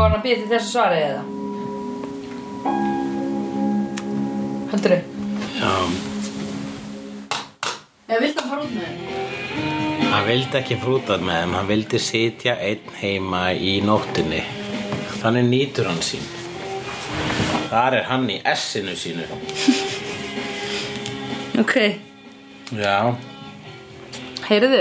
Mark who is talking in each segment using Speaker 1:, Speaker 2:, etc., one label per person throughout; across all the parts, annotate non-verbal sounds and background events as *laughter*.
Speaker 1: hann að býja til þessu svari eða? Heldur þau?
Speaker 2: Já,
Speaker 3: Eða vilt að fara út með þeim?
Speaker 2: hann vildi ekki frútað með þeim, hann vildi sitja einn heima í nóttinni. Þannig nýtur hann sín. Þar er hann í essinu sínu.
Speaker 1: Ok,
Speaker 2: Já,
Speaker 1: heyrðu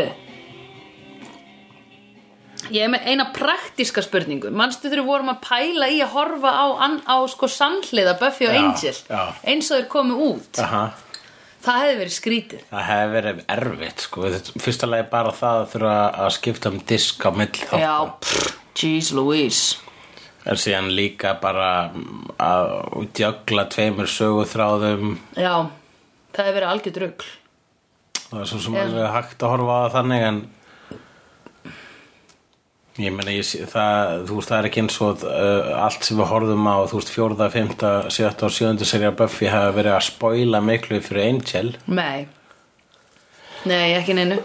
Speaker 1: Ég er með eina praktíska spurningu Manstu þegar við vorum að pæla í að horfa á, an, á sko samhliða Buffy og
Speaker 2: Já,
Speaker 1: Angel
Speaker 2: já.
Speaker 1: eins og þeir komu út
Speaker 2: aha.
Speaker 1: Það hefði verið skrítið
Speaker 2: Það hefði verið erfitt, sko. Þetta- Fyrsta lagi bara það að þurfa að skipta um disk á milli þáttar.
Speaker 1: Já, pff, jeez Louise
Speaker 2: En síðan líka bara mm, að djögla tveimur söguþráðum.
Speaker 1: Já, það hefði verið algjör drugl
Speaker 2: Það er svo sem alveg hægt að horfa á það þannig en ég meina ég, sé- það, þú veist það er ekki eins og uh, allt sem við horfum á þú veist fjórða, fymta, sjötta og sjöunda serið Buffy hafa verið að spoila miklu fyrir Angel
Speaker 1: Nei Nei, ekki neinu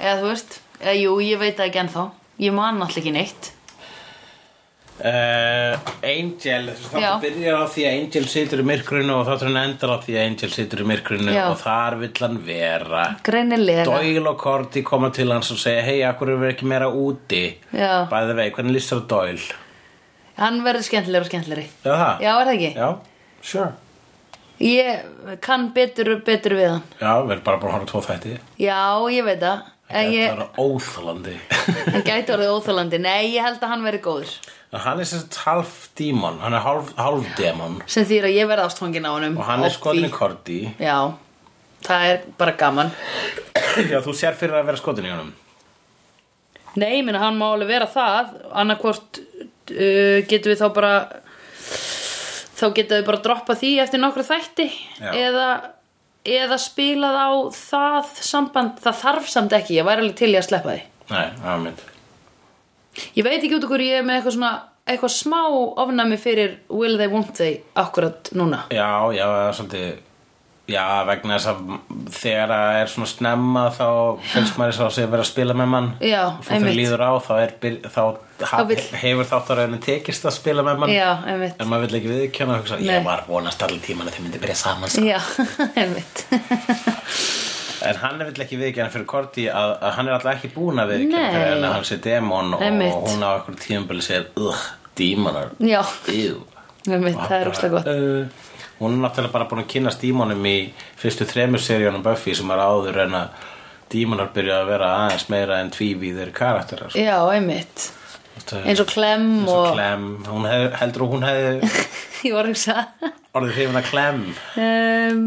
Speaker 1: Eða þú veist eða, Jú, ég veit það ekki ennþá Ég man alltaf ekki neitt
Speaker 2: uh, Angel, þú veist
Speaker 1: Já.
Speaker 2: það byrjar á því að Angel situr í myrkrinu og þáttur hann endar á því að Angel situr í myrkrinu
Speaker 1: Já.
Speaker 2: og þar vill hann vera
Speaker 1: Greinilega
Speaker 2: Doyle og Cordy koma til hans og segja hei, akkur erum við ekki meira úti
Speaker 1: Já.
Speaker 2: bæði vei, hvernig líst þér á Doyle?
Speaker 1: Hann verður skemmtilegur og skemmtilegri
Speaker 2: Já, það?
Speaker 1: Já, er það ekki?
Speaker 2: Já, sure
Speaker 1: Ég kann betur, betur við hann
Speaker 2: Já, við erum bara búin að horfa á tvo þætti
Speaker 1: Já, ég veit það En
Speaker 2: Þetta
Speaker 1: ég,
Speaker 2: er *laughs* óþalandi
Speaker 1: hann gæti orðið óþólandi Nei, ég held að hann verði góður
Speaker 2: Hann er sem sagt half dímon Hann er hálf, hálf demon
Speaker 1: Sem þýr að ég verði ástfangin á honum
Speaker 2: Og hann er
Speaker 1: því-
Speaker 2: skotin í Korti
Speaker 1: Já, það er bara gaman
Speaker 2: Já, þú sér fyrir að vera skotin í honum
Speaker 1: Nei, ég meina hann má alveg vera það annarkvort uh, getum við þá bara þá getum við bara droppa því eftir nokkra þætti
Speaker 2: Já.
Speaker 1: eða, eða spilað á það samband, það þarf samt ekki ég væri alveg til í að sleppa því
Speaker 2: Nei, það er mynd
Speaker 1: ég veit ekki út okkur ég er með eitthvað svona eitthvað smá ofnæmi fyrir will they won't they akkurat núna
Speaker 2: Já, já, það er svolítið Já, vegna þess að þegar það er svona snemma þá finnst maður þess að segja vera að spila með mann
Speaker 1: Já,
Speaker 2: Svo þegar
Speaker 1: einmitt.
Speaker 2: líður á þá, er, byr- þá, þá
Speaker 1: vill-
Speaker 2: hefur þáttaröðinu tekist að spila með mann
Speaker 1: já, einmitt
Speaker 2: En maður vil ekki viðkjanna og hugsa
Speaker 1: Nei.
Speaker 2: Ég var vonast allir tíman að þið myndi byrja saman sko."
Speaker 1: já, *laughs* einmitt
Speaker 2: En hann vill ekki viðkjana fyrir Korti að, að hann er alltaf ekki búin að viðkjana
Speaker 1: Nei.
Speaker 2: fyrir henni að hann sé demon og,
Speaker 1: Einmitt.
Speaker 2: og hún á einhverjum tíðumbölu segir Ugh, dímonar,
Speaker 1: já,
Speaker 2: ew
Speaker 1: einmitt,
Speaker 2: Og hann
Speaker 1: það er
Speaker 2: bara,
Speaker 1: úrsta gott
Speaker 2: uh, Hún er náttúrulega bara búin að kynast dímonum í fyrstu þremur seríunum Buffy sem er áður en að dímonar byrja að vera aðeins meira en tvívíðir karakterar sko.
Speaker 1: já, einmitt
Speaker 2: Þetta er-
Speaker 1: eins og klem
Speaker 2: eins og Clem, hún hef, heldur að hún hefði
Speaker 1: *laughs* ég var að hugsa
Speaker 2: orðið hrifin að Clem
Speaker 1: um,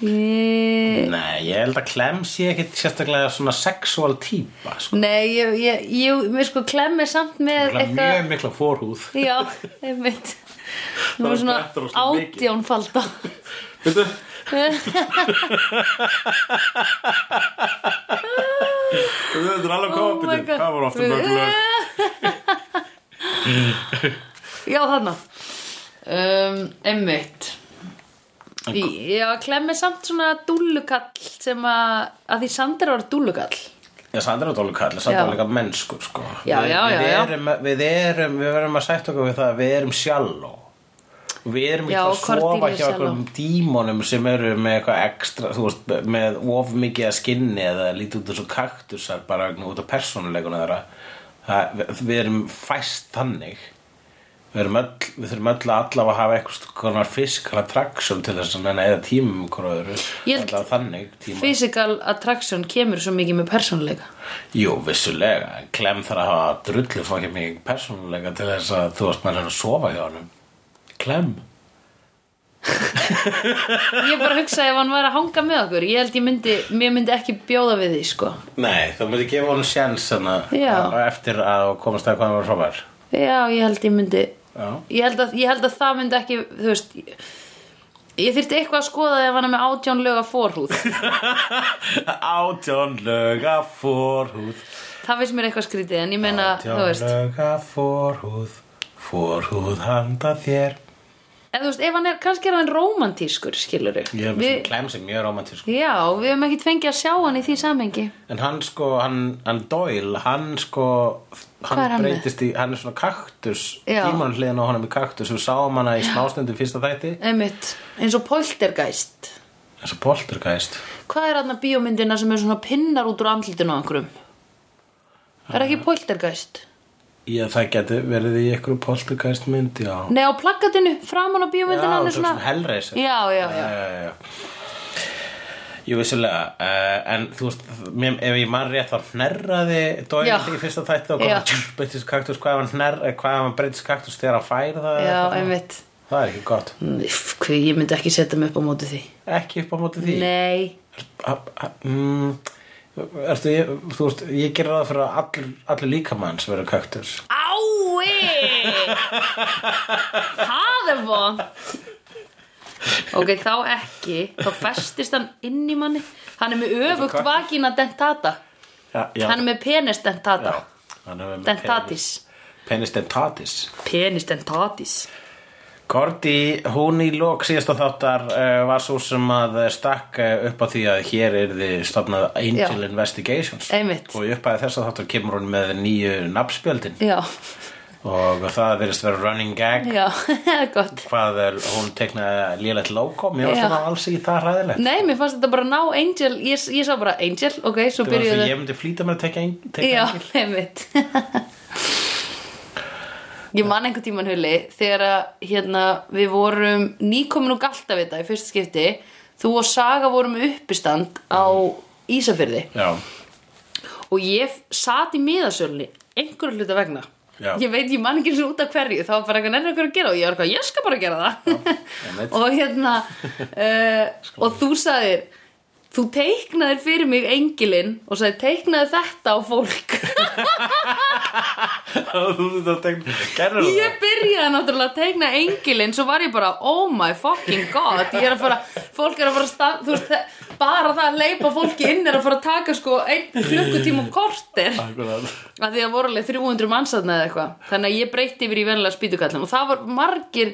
Speaker 1: ég...
Speaker 2: Nei, ég held að Clem sé ekkit sérstaklega svona sexual típa sko.
Speaker 1: Nei, ég, ég, ég, mér sko klemmi samt með
Speaker 2: Hún er
Speaker 1: eitthvað
Speaker 2: Mjög mikla fórhúð
Speaker 1: Já,
Speaker 2: *laughs*
Speaker 1: einmitt Nú
Speaker 2: Það
Speaker 1: er svona
Speaker 2: brettur rosa mikið.
Speaker 1: átjánfalda
Speaker 2: Veitu? Þetta er
Speaker 1: Oh my
Speaker 2: alveg kompetent
Speaker 1: god.
Speaker 2: Hvað var ofta mörg lög?
Speaker 1: *laughs* Já, þarna um, Einmitt Já, klemmi samt svona dúllukall sem að, að því Sander var dúllukall
Speaker 2: Já, Sandra er dólu kall, Sandra
Speaker 1: Já.
Speaker 2: er líka mennskur sko.
Speaker 1: Já,
Speaker 2: við,
Speaker 1: já, já,
Speaker 2: við
Speaker 1: já.
Speaker 2: erum, við erum, við verum að sætt okkur við það að Við erum sjalló Og Við erum
Speaker 1: Já,
Speaker 2: ekki að sofa
Speaker 1: Cordelia
Speaker 2: hjá
Speaker 1: shallow.
Speaker 2: okkur dímonum sem eru með eitthvað ekstra, þú veist, með of mikið að skinni eða lítið út eins og kaktusar bara vegna út af persónuleikuna þeirra. Það, við- við erum fæst þannig. Við, erum öll, við þurfum öll að allavega að hafa eitthvað konar physical attraction til þess að neða tímum um hverju öðru.
Speaker 1: Ég held-
Speaker 2: Allavega þannig tíma.
Speaker 1: Physical attraction kemur svo mikið með persónuleika
Speaker 2: Jú, vissulega, en Clem þarf að hafa drullu fokkið mikið persónuleika til þess að þú veist maður er að sofa hjá honum. Clem?
Speaker 1: Ég bara hugsaði ef hann var að hanga með okkur Ég held ég myndi, mér myndi ekki bjóða við því sko.
Speaker 2: Nei, þú myndi gefa honum sjans
Speaker 1: Já.
Speaker 2: þannig eftir að komast að hvað hann var frábær.
Speaker 1: Já, ég held ég myndi
Speaker 2: *laughs* Já.
Speaker 1: ég held, að, ég held að það myndi ekki Þú veist Ég, ég þyrfti eitthvað að skoða ef hann er með átján löga forhúð
Speaker 2: Átjón löga fórhúð.
Speaker 1: Það finnst mér eitthvað skrítið En ég meina, þú
Speaker 2: Átjón
Speaker 1: veist
Speaker 2: löga fórhúð, fórhúð handa þér.
Speaker 1: En þú veist, ef hann er, kannski er hann rómantískur, skilur
Speaker 2: Ég hef
Speaker 1: við,
Speaker 2: sem klem sem mjög romantísk
Speaker 1: Já, við hefum ekkert fengið að sjá hann í því samhengi
Speaker 2: En hann sko, hann, hann Doyle Hann sko, hann,
Speaker 1: Hvað er hann með?
Speaker 2: breytist í Hann er svona kaktus
Speaker 1: Já.
Speaker 2: Tímann hliðin á honum í kaktus Við sáum hana í smástundum fyrsta þætti
Speaker 1: Einmitt, eins og poltergeist
Speaker 2: En svo poltergeist
Speaker 1: Hvað er þarna bíómyndina sem er svona pinnar út úr andlutinu á einhverjum? Er ekki poltergeist?
Speaker 2: Ég það geti verið í ykkur poltergeist mynd Já,
Speaker 1: Nei, á plakatinu, framan á
Speaker 2: já
Speaker 1: bíómyndina hann
Speaker 2: það
Speaker 1: er
Speaker 2: er
Speaker 1: svona...
Speaker 2: svona Hellraiser
Speaker 1: Já, já, já
Speaker 2: já, já. Jú, vissulega, uh, en þú veist, mér, ef ég man rétt þá hnerraði
Speaker 1: Já.
Speaker 2: Doyle í fyrsta þætti og
Speaker 1: Já.
Speaker 2: kom breytist kaktus, hvað ef hann, hner, eh, hvað ef hann breytist kaktus þegar hann fær það?
Speaker 1: Já,
Speaker 2: eða eitthvað?
Speaker 1: einmitt
Speaker 2: Það er ekki gott.
Speaker 1: Uff, Hví, ég myndi ekki setja mig upp á móti því
Speaker 2: Ekki upp á móti því.
Speaker 1: Nei,
Speaker 2: Ha- ha- mm, Ertu, ég, þú veist, ég gerir það fyrir að allur, allur líkamann sem verður kaktus.
Speaker 1: Ái! Það er von Ok, þá ekki Þá festist hann inn í manni Hann er með öfugt vagina dentata
Speaker 2: Já, já.
Speaker 1: Hann er með penis dentata
Speaker 2: já. Hann er með
Speaker 1: Dentatis
Speaker 2: penis- Penis dentatis.
Speaker 1: Penis dentatis
Speaker 2: Korti, hún í lok síðasta þáttar uh, var svo sem að eh, stakk uh, upp á því að hér er þið stofnað Angel
Speaker 1: Já.
Speaker 2: Investigations
Speaker 1: Einmitt.
Speaker 2: og upp að þessa þáttar kemur hún með nýju nafnspjöldin
Speaker 1: Já,
Speaker 2: og það verðist vera running gag
Speaker 1: já, *laughs* gott
Speaker 2: hvað er, hún teknaði lélegt logo, mér varst
Speaker 1: Já.
Speaker 2: það alls í það hræðilegt
Speaker 1: Nei, mér fannst þetta bara ná Angel Ég, ég sá bara Angel, ok, svo
Speaker 2: Þú veist
Speaker 1: byrjuðu
Speaker 2: að ég myndi flýta mér að tekja ein- tekja
Speaker 1: Já,
Speaker 2: Angel
Speaker 1: einmitt Ég man einhvern tímann hulli þegar að hérna, við vorum nýkomin úr Galtavita í fyrsta skipti þú og Saga vorum með uppistand á Ísafyrði
Speaker 2: Já, *laughs*
Speaker 1: og ég sat í miðasölunni einhverju hluta vegna
Speaker 2: Já.
Speaker 1: ég veit, ég man ekki eins og út af hverju þá var bara eitthvað nefnir eitthvað að gera og ég var eitthvað, ég skal bara gera *laughs*
Speaker 2: einmitt.
Speaker 1: það og
Speaker 2: *laughs*
Speaker 1: hérna uh, og þú sagðir þú teiknaðir fyrir mig engilinn og sagðir teiknaði þetta á fólk
Speaker 2: *laughs* þú veist að tekna, gerður þú
Speaker 1: Ég byrjaði náttúrulega að teikna engilinn svo var ég bara, oh my fucking god ég er að fara, fólk er að fara að stað, þú veist, þe- bara það að leipa fólki inn er að fara að taka sko einn klukkutíma og korter
Speaker 2: það?
Speaker 1: að því að voru alveg 300 mannsaðna eða eitthvað þannig að ég breytti yfir í venlega spýtukallum og það var margir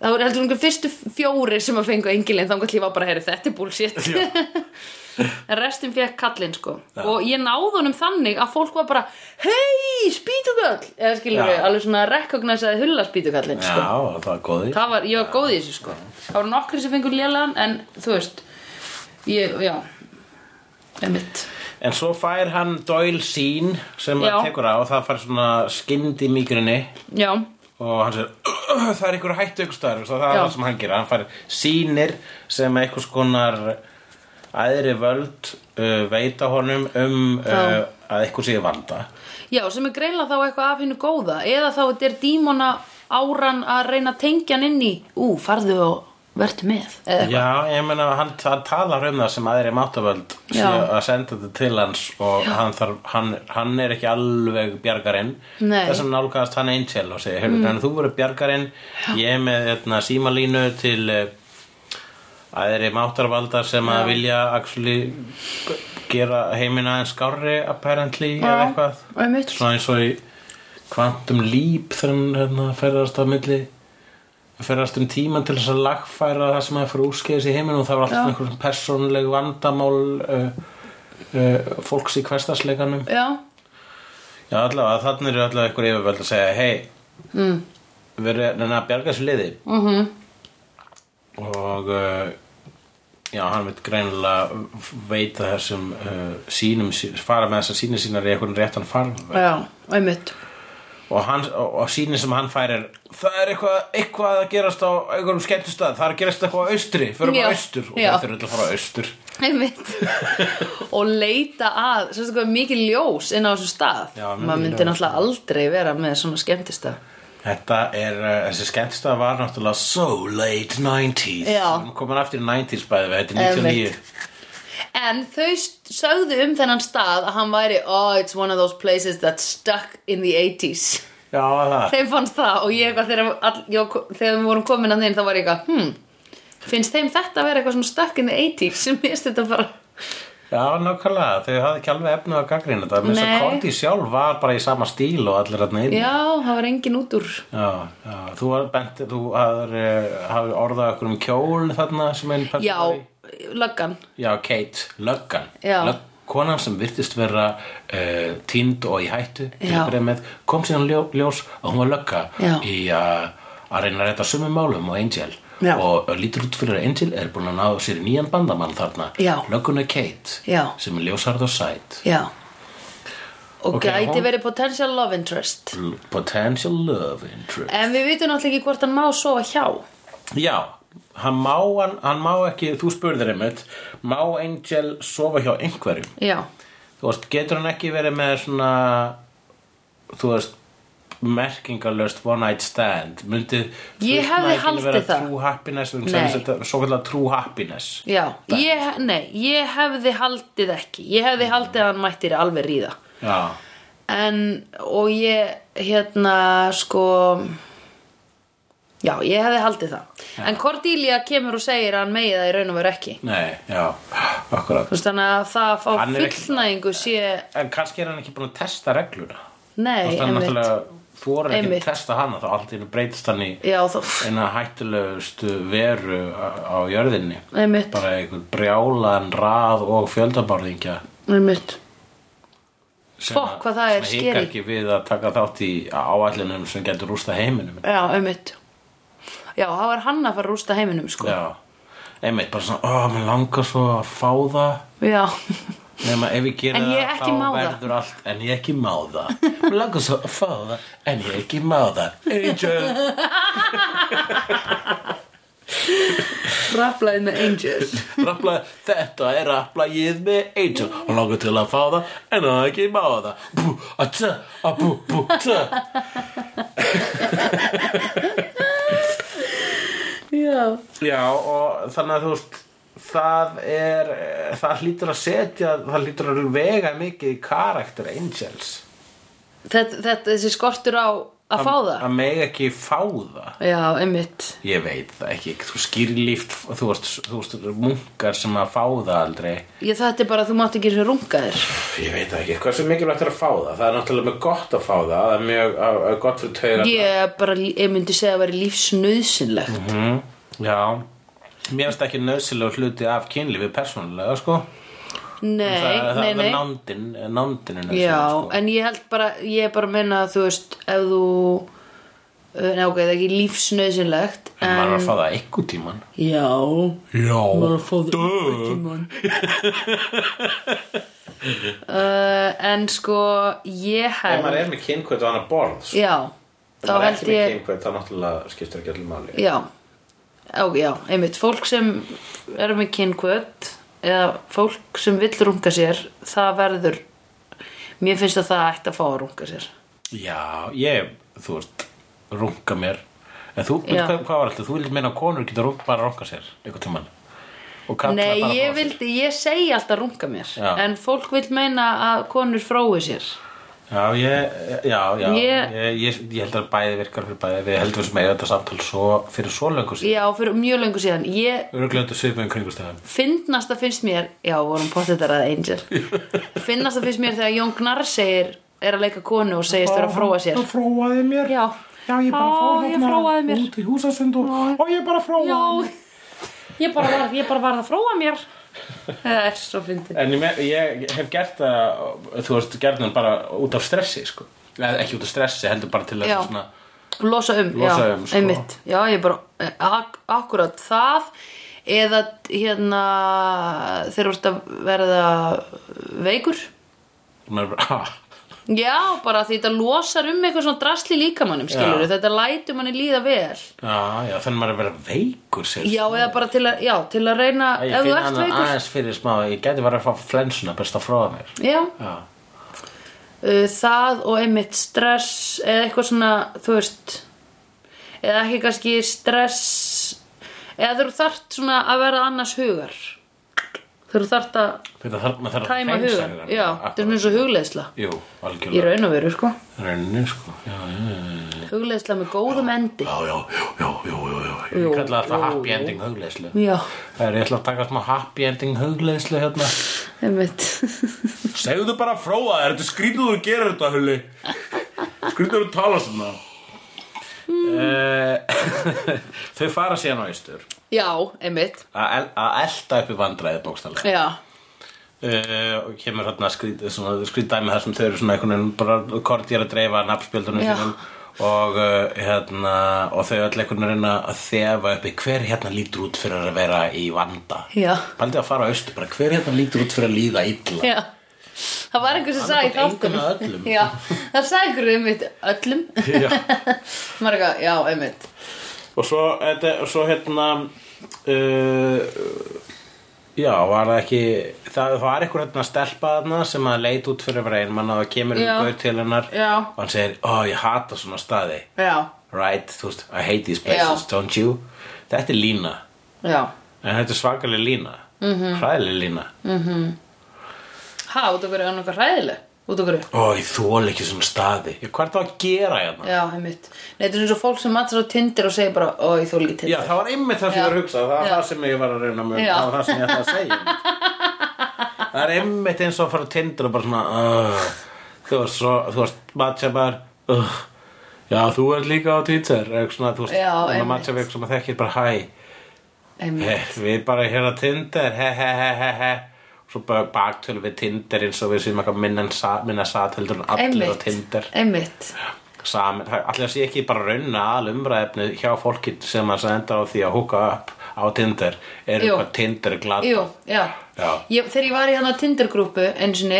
Speaker 1: það voru heldur einhver fyrstu fjóri sem að fengu engilinn þá hvað ég var bara, heyri, þetta er bullshit *laughs* en restin fekk kallinn sko
Speaker 2: Já.
Speaker 1: og ég náði honum þannig að fólk var bara hei, spýtukall eða skilur
Speaker 2: Já.
Speaker 1: við, alveg svona rekognasaði hulla spýtukallinn
Speaker 2: Já,
Speaker 1: sko.
Speaker 2: það er góði
Speaker 1: það var, ég var góð í þessu sko það voru nokkri sem fengu lélan en þú veist ég, já emitt
Speaker 2: En svo fær hann Doyle sín sem
Speaker 1: Já.
Speaker 2: að tekur á, það fær svona skyndi í mýgrinni
Speaker 1: já,
Speaker 2: og hann segir "Ugh, það er einhver hættu ykkur staðar það er
Speaker 1: Já.
Speaker 2: það sem hann gerir, hann fær sínir sem einhvers konar æðri völd uh, veita honum um uh,
Speaker 1: Já.
Speaker 2: að eitthvað sé í vanda
Speaker 1: já, sem er greinlega þá eitthvað af hennu góða eða þá þetta er dímona áran að reyna að tengja hann inn í ú, farðu og vertu með eða eitthvað
Speaker 2: Já, ég meina hann, hann talar um það sem aðri máttavöld sé
Speaker 1: Já.
Speaker 2: að senda þetta til hans og hann, þarf, hann, hann er ekki alveg bjargarinn
Speaker 1: Nei.
Speaker 2: þessum nálgast hann Angel og segir mm. hann, þú verður bjargarinn, ég er með eitna, símalínu til eh, aðri máttarvalda sem að vilja actually gera heimina en skárri apparently eða eitthvað
Speaker 1: emitt
Speaker 2: svona eins og í kvantum líp þegar hann hérna, ferðast á milli ferðast um tíman til þess að lagfæra það sem að fyrir úrskeiðis í heiminu og það var alltaf einhverjum persónuleg vandamál uh, uh, fólks í hverstasleikanum
Speaker 1: já,
Speaker 2: Já, allavega, þannig eru allavega einhver yfirvöld að segja hei, mm. við erum að bjarga þessu liði mm
Speaker 1: mhm,
Speaker 2: -hmm. og uh, já, hann veit greinilega veita þessum uh, sínum, sí- fara með þessar sínir sínar í einhvern réttan farveg
Speaker 1: já, emitt
Speaker 2: og, hann, og, og síni sem hann fær er það er eitthvað, eitthvað að gerast á einhverjum skemmtustad, það er að gerast eitthvað á austri fyrir
Speaker 1: Já,
Speaker 2: bara austur og
Speaker 1: já.
Speaker 2: það fyrir öll að fara á austur *laughs*
Speaker 1: Einmitt. og leita að sérstu hvað er mikið ljós inn á þessum stað
Speaker 2: Já, mikið
Speaker 1: maður myndi
Speaker 2: ljós.
Speaker 1: náttúrulega aldrei vera með svona skemmtista
Speaker 2: Þetta er, uh, þessi skemmtustad var náttúrulega so late 90s
Speaker 1: Já.
Speaker 2: Hún komin aftur í 90s bæði við, þetta er 99
Speaker 1: Einmitt. en þau st- sögðu um þennan stað að hann væri oh it's one of those places that's stuck in the 80s
Speaker 2: Já, það
Speaker 1: þeim fannst það og ég eitthvað þegar, all, ég, var ko- þegar við vorum komin að þeim þá var *laughs* ég eitthvað hmm, finnst þeim þetta að vera eitthvað svona stuck in the 80s sem finnst þetta bara
Speaker 2: Já, nákvæmlega, þau hafði ekki alveg efnu að gaggrina þetta með þess að
Speaker 1: Nei.
Speaker 2: Korti sjálf var bara í sama stíl og allir að neyðin
Speaker 1: Já, það var engin út úr
Speaker 2: já, já, þú var bent þú hafðir, eh, hafðir orðað okkur um kjól þarna sem einn person
Speaker 1: Já,
Speaker 2: var í.
Speaker 1: löggan
Speaker 2: já, Kate, löggan
Speaker 1: Já.
Speaker 2: Lögg, konan sem virtist vera uh, tínd og í hættu til
Speaker 1: Já.
Speaker 2: að byrja með, kom síðan ljó, ljós og hún var lögga
Speaker 1: Já.
Speaker 2: í uh, að reyna að reyta sumum málum og Angel
Speaker 1: Já.
Speaker 2: og eh, lítur út fyrir að Angel er búin að ná sér í nýjan bandamann þarna
Speaker 1: Já.
Speaker 2: lögguna Kate
Speaker 1: Já.
Speaker 2: sem er ljósarð og sæt
Speaker 1: Já Og
Speaker 2: Ok,
Speaker 1: gæti
Speaker 2: hún-
Speaker 1: verið potential love interest
Speaker 2: Potential love interest
Speaker 1: En við vitum náttúrulega ekki hvort hann má sofa hjá
Speaker 2: Já, hann má, hann, hann má ekki Þú spurðir einmitt Má Angel sofa hjá einhverjum
Speaker 1: Já,
Speaker 2: Þú veist, getur hann ekki verið með svona Þú veist merkingalöst one night stand myndi
Speaker 1: Ég hefði haldið
Speaker 2: vera
Speaker 1: það.
Speaker 2: true happiness um
Speaker 1: Nei.
Speaker 2: sem þetta svo kallar true happiness
Speaker 1: já ég, Nei, ég hefði haldið ekki Ég hefði haldið að hann mættir alveg ríða
Speaker 2: já,
Speaker 1: En, og ég, hérna, sko Já, ég hefði haldið það En Cordelia kemur og segir að hann megi það í raun og veru ekki
Speaker 2: nei, já, akkurat
Speaker 1: Þú veist þannig að það að fá
Speaker 2: Hann er ekki-
Speaker 1: fullnægingu sé
Speaker 2: en kannski er hann ekki búin að testa regluna
Speaker 1: Nei,
Speaker 2: þú veist, hann
Speaker 1: einmitt
Speaker 2: náttúrulega þú voru ekki
Speaker 1: Einmitt.
Speaker 2: að testa hana þá allt í einu breytist hann í
Speaker 1: Já, þá,
Speaker 2: eina hættulegustu veru á á jörðinni
Speaker 1: einmitt,
Speaker 2: bara einhvern brjálan rað og fjöldabarðingja
Speaker 1: einmitt
Speaker 2: sem
Speaker 1: Fokk,
Speaker 2: að-
Speaker 1: hvað það er
Speaker 2: sem að hika
Speaker 1: scary.
Speaker 2: ekki við að taka þátt í áætlunum sem getur rústa heiminum
Speaker 1: Já, einmitt Já, þá er hann að fara að rústa heiminum, sko
Speaker 2: já, einmitt bara svona ó, mér langar svo að fá það
Speaker 1: Já,
Speaker 2: nema ef ég gera
Speaker 1: En ég
Speaker 2: það
Speaker 1: ekki
Speaker 2: þá
Speaker 1: má það.
Speaker 2: verður allt en ég ekki má það mér langar svo að fá það en ég ekki má það Angel
Speaker 1: raflaðið með Angel
Speaker 2: rapla, þetta er rapplagið með Angel og langar til að fá það en það ekki má það bú, a tja, a bú, bú, tja
Speaker 1: Já,
Speaker 2: Já, og þannig að þú veist það er, það hlýtur að setja það hlýtur að vega mikið í karakter Angels
Speaker 1: þetta, þetta, þessi skortur á að fá það
Speaker 2: Að mega ekki fá það
Speaker 1: Já, einmitt
Speaker 2: Ég veit það ekki, þú skýrlíft þú veist, þú veist, munkar sem að fá það aldrei
Speaker 1: Ég þetta er bara að þú mátt ekki eins og runga þér
Speaker 2: Ég veit það ekki, hversu mikilvægt er að fá það það er náttúrulega mjög gott að fá það það er mjög að, að gott fyrir taugar
Speaker 1: Ég bara, ég myndi segja að vera lífsnauðsynlegt
Speaker 2: mm, Já, mér finnst ekki nöðsilega hluti af kynlífi persónulega, sko
Speaker 1: Nei,
Speaker 2: það, það,
Speaker 1: nei,
Speaker 2: það
Speaker 1: nei
Speaker 2: nándin, nándin er nauðsynleg,
Speaker 1: Já,
Speaker 2: sko.
Speaker 1: en ég held bara, ég er bara að meina að þú veist, ef þú eh, Nei, ok, það er ekki lífsnauðsynlegt
Speaker 2: En maður er að fá það einhver tíman
Speaker 1: Já, maður
Speaker 2: Já
Speaker 1: er að fá það einhvern tímann. *laughs* uh, En sko, ég
Speaker 2: Ef
Speaker 1: held
Speaker 2: maður er með kynkvöt á annar borð sko.
Speaker 1: Já,
Speaker 2: Ef
Speaker 1: þá
Speaker 2: maður er
Speaker 1: held
Speaker 2: ekki með
Speaker 1: ég
Speaker 2: kynkvöt þá náttúrulega skiptir ekki allir máli
Speaker 1: Já, Ó, já, einmitt, fólk sem er með kynkvöt eða fólk sem vill runga sér, það verður, mér finnst að það ætti að fá að runga sér.
Speaker 2: Já, ég, þú veist, runga mér En þú,
Speaker 1: Já.
Speaker 2: veit hvað, hvað var alltaf, þú vilt meina að konur geta rung, bara runga sér einhvern tíman Og kalla
Speaker 1: Nei,
Speaker 2: bara
Speaker 1: ég
Speaker 2: frá sér.
Speaker 1: vildi, ég segi alltaf runga mér,
Speaker 2: Já.
Speaker 1: en fólk vill meina að konur frói sér.
Speaker 2: Já, ég, já, já
Speaker 1: Ég-
Speaker 2: ég, ég, ég held að bæði virkar fyrir bæði Við heldum sem eiga þetta samtal svo, fyrir svo löngu sér
Speaker 1: Já, fyrir mjög löngu síðan, ég
Speaker 2: Öruglega þetta svipum kringustæðum
Speaker 1: finnast að finnst mér, já, vorum pottetar að
Speaker 2: *laughs*
Speaker 1: Angel, finnast að finnst mér þegar Jón Gnarr segir, er að leika konu og segist vera að fróa sér.
Speaker 2: Það fróaði mér
Speaker 1: Já.
Speaker 2: Já, ég bara
Speaker 1: Ó,
Speaker 2: fór
Speaker 1: ég fróaði
Speaker 2: hérna
Speaker 1: mér.
Speaker 2: út í húsasund og, og ég bara fróaði
Speaker 1: Já, ég bara var, ég bara var að fróa mér Það er svo fyndið
Speaker 2: En ég, me- ég hef gert það, þú veist, gerðin bara út af stressi, sko. Eða ekki út af stressi, heldur bara til þess
Speaker 1: Já.
Speaker 2: að svona,
Speaker 1: Losa um,
Speaker 2: Losa
Speaker 1: já,
Speaker 2: um, sko.
Speaker 1: einmitt Já, ég bara, eh, ak akkurat það Eða hérna þeir voru að verða veikur
Speaker 2: svona, ha,
Speaker 1: Já, bara því þetta losar um eitthvað svona drasli líkamannum, skilur
Speaker 2: Já.
Speaker 1: Þetta lætur manni líða vel
Speaker 2: já, *laughs* já, þannig maður er að vera veikur, sér.
Speaker 1: Já, eða bara til að, já, til að reyna
Speaker 2: Ég
Speaker 1: Ef
Speaker 2: finn
Speaker 1: þú ert
Speaker 2: hana
Speaker 1: veikur
Speaker 2: aðeins fyrir smá, ég gæti verið að fá flensuna, best að fróða mér.
Speaker 1: Já,
Speaker 2: Já,
Speaker 1: uh, það og einmitt stress eða eitthvað svona, þú veist eða ekki kannski stress eða þú þart svona að vera annars hugar þú þart að
Speaker 2: þetta þarf, maður þarf að
Speaker 1: tæma
Speaker 2: hreinsa
Speaker 1: hugan
Speaker 2: hérna.
Speaker 1: já, þetta er svona eins og hugleiðsla
Speaker 2: Jú,
Speaker 1: í
Speaker 2: algjörlega.
Speaker 1: raun og veru, sko
Speaker 2: Rönni, sko. Já, já, já,
Speaker 1: hugleiðsla með góðum endi
Speaker 2: já, já, já, já, já, já.
Speaker 1: Jú,
Speaker 2: Ég kalla
Speaker 1: jú,
Speaker 2: þetta happy
Speaker 1: jú.
Speaker 2: ending hugleðslu.
Speaker 1: já,
Speaker 2: Það er, ég ætla að taka smá happy ending hugleðslu hérna.
Speaker 1: einmitt *laughs*
Speaker 2: Segðu bara frá það, er þetta skrítið þú gerir þetta, Hulli? Skrítið þú tala svona mm. *laughs* Þau fara síðan á austur
Speaker 1: Já, einmitt
Speaker 2: að el- að elta upp í vandræði bókstallega
Speaker 1: Já,
Speaker 2: uh, og kemur hérna skrítið svona, skrítið með það sem þau eru svona einhvern veginn bara kortjér að dreifa nafnspjöldunum
Speaker 1: Já.
Speaker 2: sínum og, uh, hérna, og þau öll einhvern veginn reyna að þefa uppi hver hérna lítur út fyrir að vera í vanda
Speaker 1: Já.
Speaker 2: Paldið að fara á austur bara hver hérna lítur út fyrir að líða illa
Speaker 1: já Það var einhver sem
Speaker 2: Annað
Speaker 1: sagði í
Speaker 2: hvort engum eða
Speaker 1: þáttunum
Speaker 2: öllum.
Speaker 1: Já, það sagði einhver einmitt öllum *laughs*
Speaker 2: Já.
Speaker 1: Marga, já, einmitt
Speaker 2: Og svo, þetta, og svo hérna uh, Já, var það ekki Það það var eitthvað hérna stelpa þarna sem að leit út fyrir að vera einmann og það kemur
Speaker 1: Já.
Speaker 2: um gaur til hennar
Speaker 1: Já.
Speaker 2: og hann segir, ó, ég hata svona staði
Speaker 1: Já,
Speaker 2: Right, þú veist, I hate these places, don't you? Þetta er lína
Speaker 1: já
Speaker 2: En þetta er svakalega lína mm
Speaker 1: Mhm.
Speaker 2: -hmm. Hræðileg lína
Speaker 1: Mm. Ha, út af hverju er hann okkar hræðileg Út af hverju
Speaker 2: Ó, ég þóla ekki svona staði Ég, Hvað er það að gera hérna?
Speaker 1: Já, einmitt Nei, þetta er eins og fólk sem matsar á Tinder og segir bara Ó, ég þóla ekki
Speaker 2: Já,
Speaker 1: Tinder
Speaker 2: það var einmitt það sem
Speaker 1: Já.
Speaker 2: ég var að hugsa Það var
Speaker 1: Já.
Speaker 2: það sem ég var að reyna mjög
Speaker 1: Já.
Speaker 2: Það var það sem ég ætla að
Speaker 1: *laughs*
Speaker 2: segja Það er einmitt eins og að fara á Tinder og bara svona uh, Þú varst svo, þú varst matcha bara uh, Já, þú ert líka á Tinder eða eitthvað svona, Þú
Speaker 1: Já,
Speaker 2: varst
Speaker 1: einmitt.
Speaker 2: matcha við eitthvað sem að þekkir bara hæ
Speaker 1: Einmitt,
Speaker 2: he, Við bara hér á Tinder he, he, he, he, he. Svo bara baktölu við Tinder eins og við séum eitthvað minna, en sa, minna sat heldur en allir á
Speaker 1: einmitt,
Speaker 2: Tinder
Speaker 1: einmitt.
Speaker 2: saman, allir sé ekki bara raunna al umræðefni hjá fólki sem að senda á því að húka upp á Tinder er
Speaker 1: Jú.
Speaker 2: eitthvað Tinder glata
Speaker 1: Jú, já,
Speaker 2: Já.
Speaker 1: Ég, Þegar ég var í hann á Tinder-grúpu eins og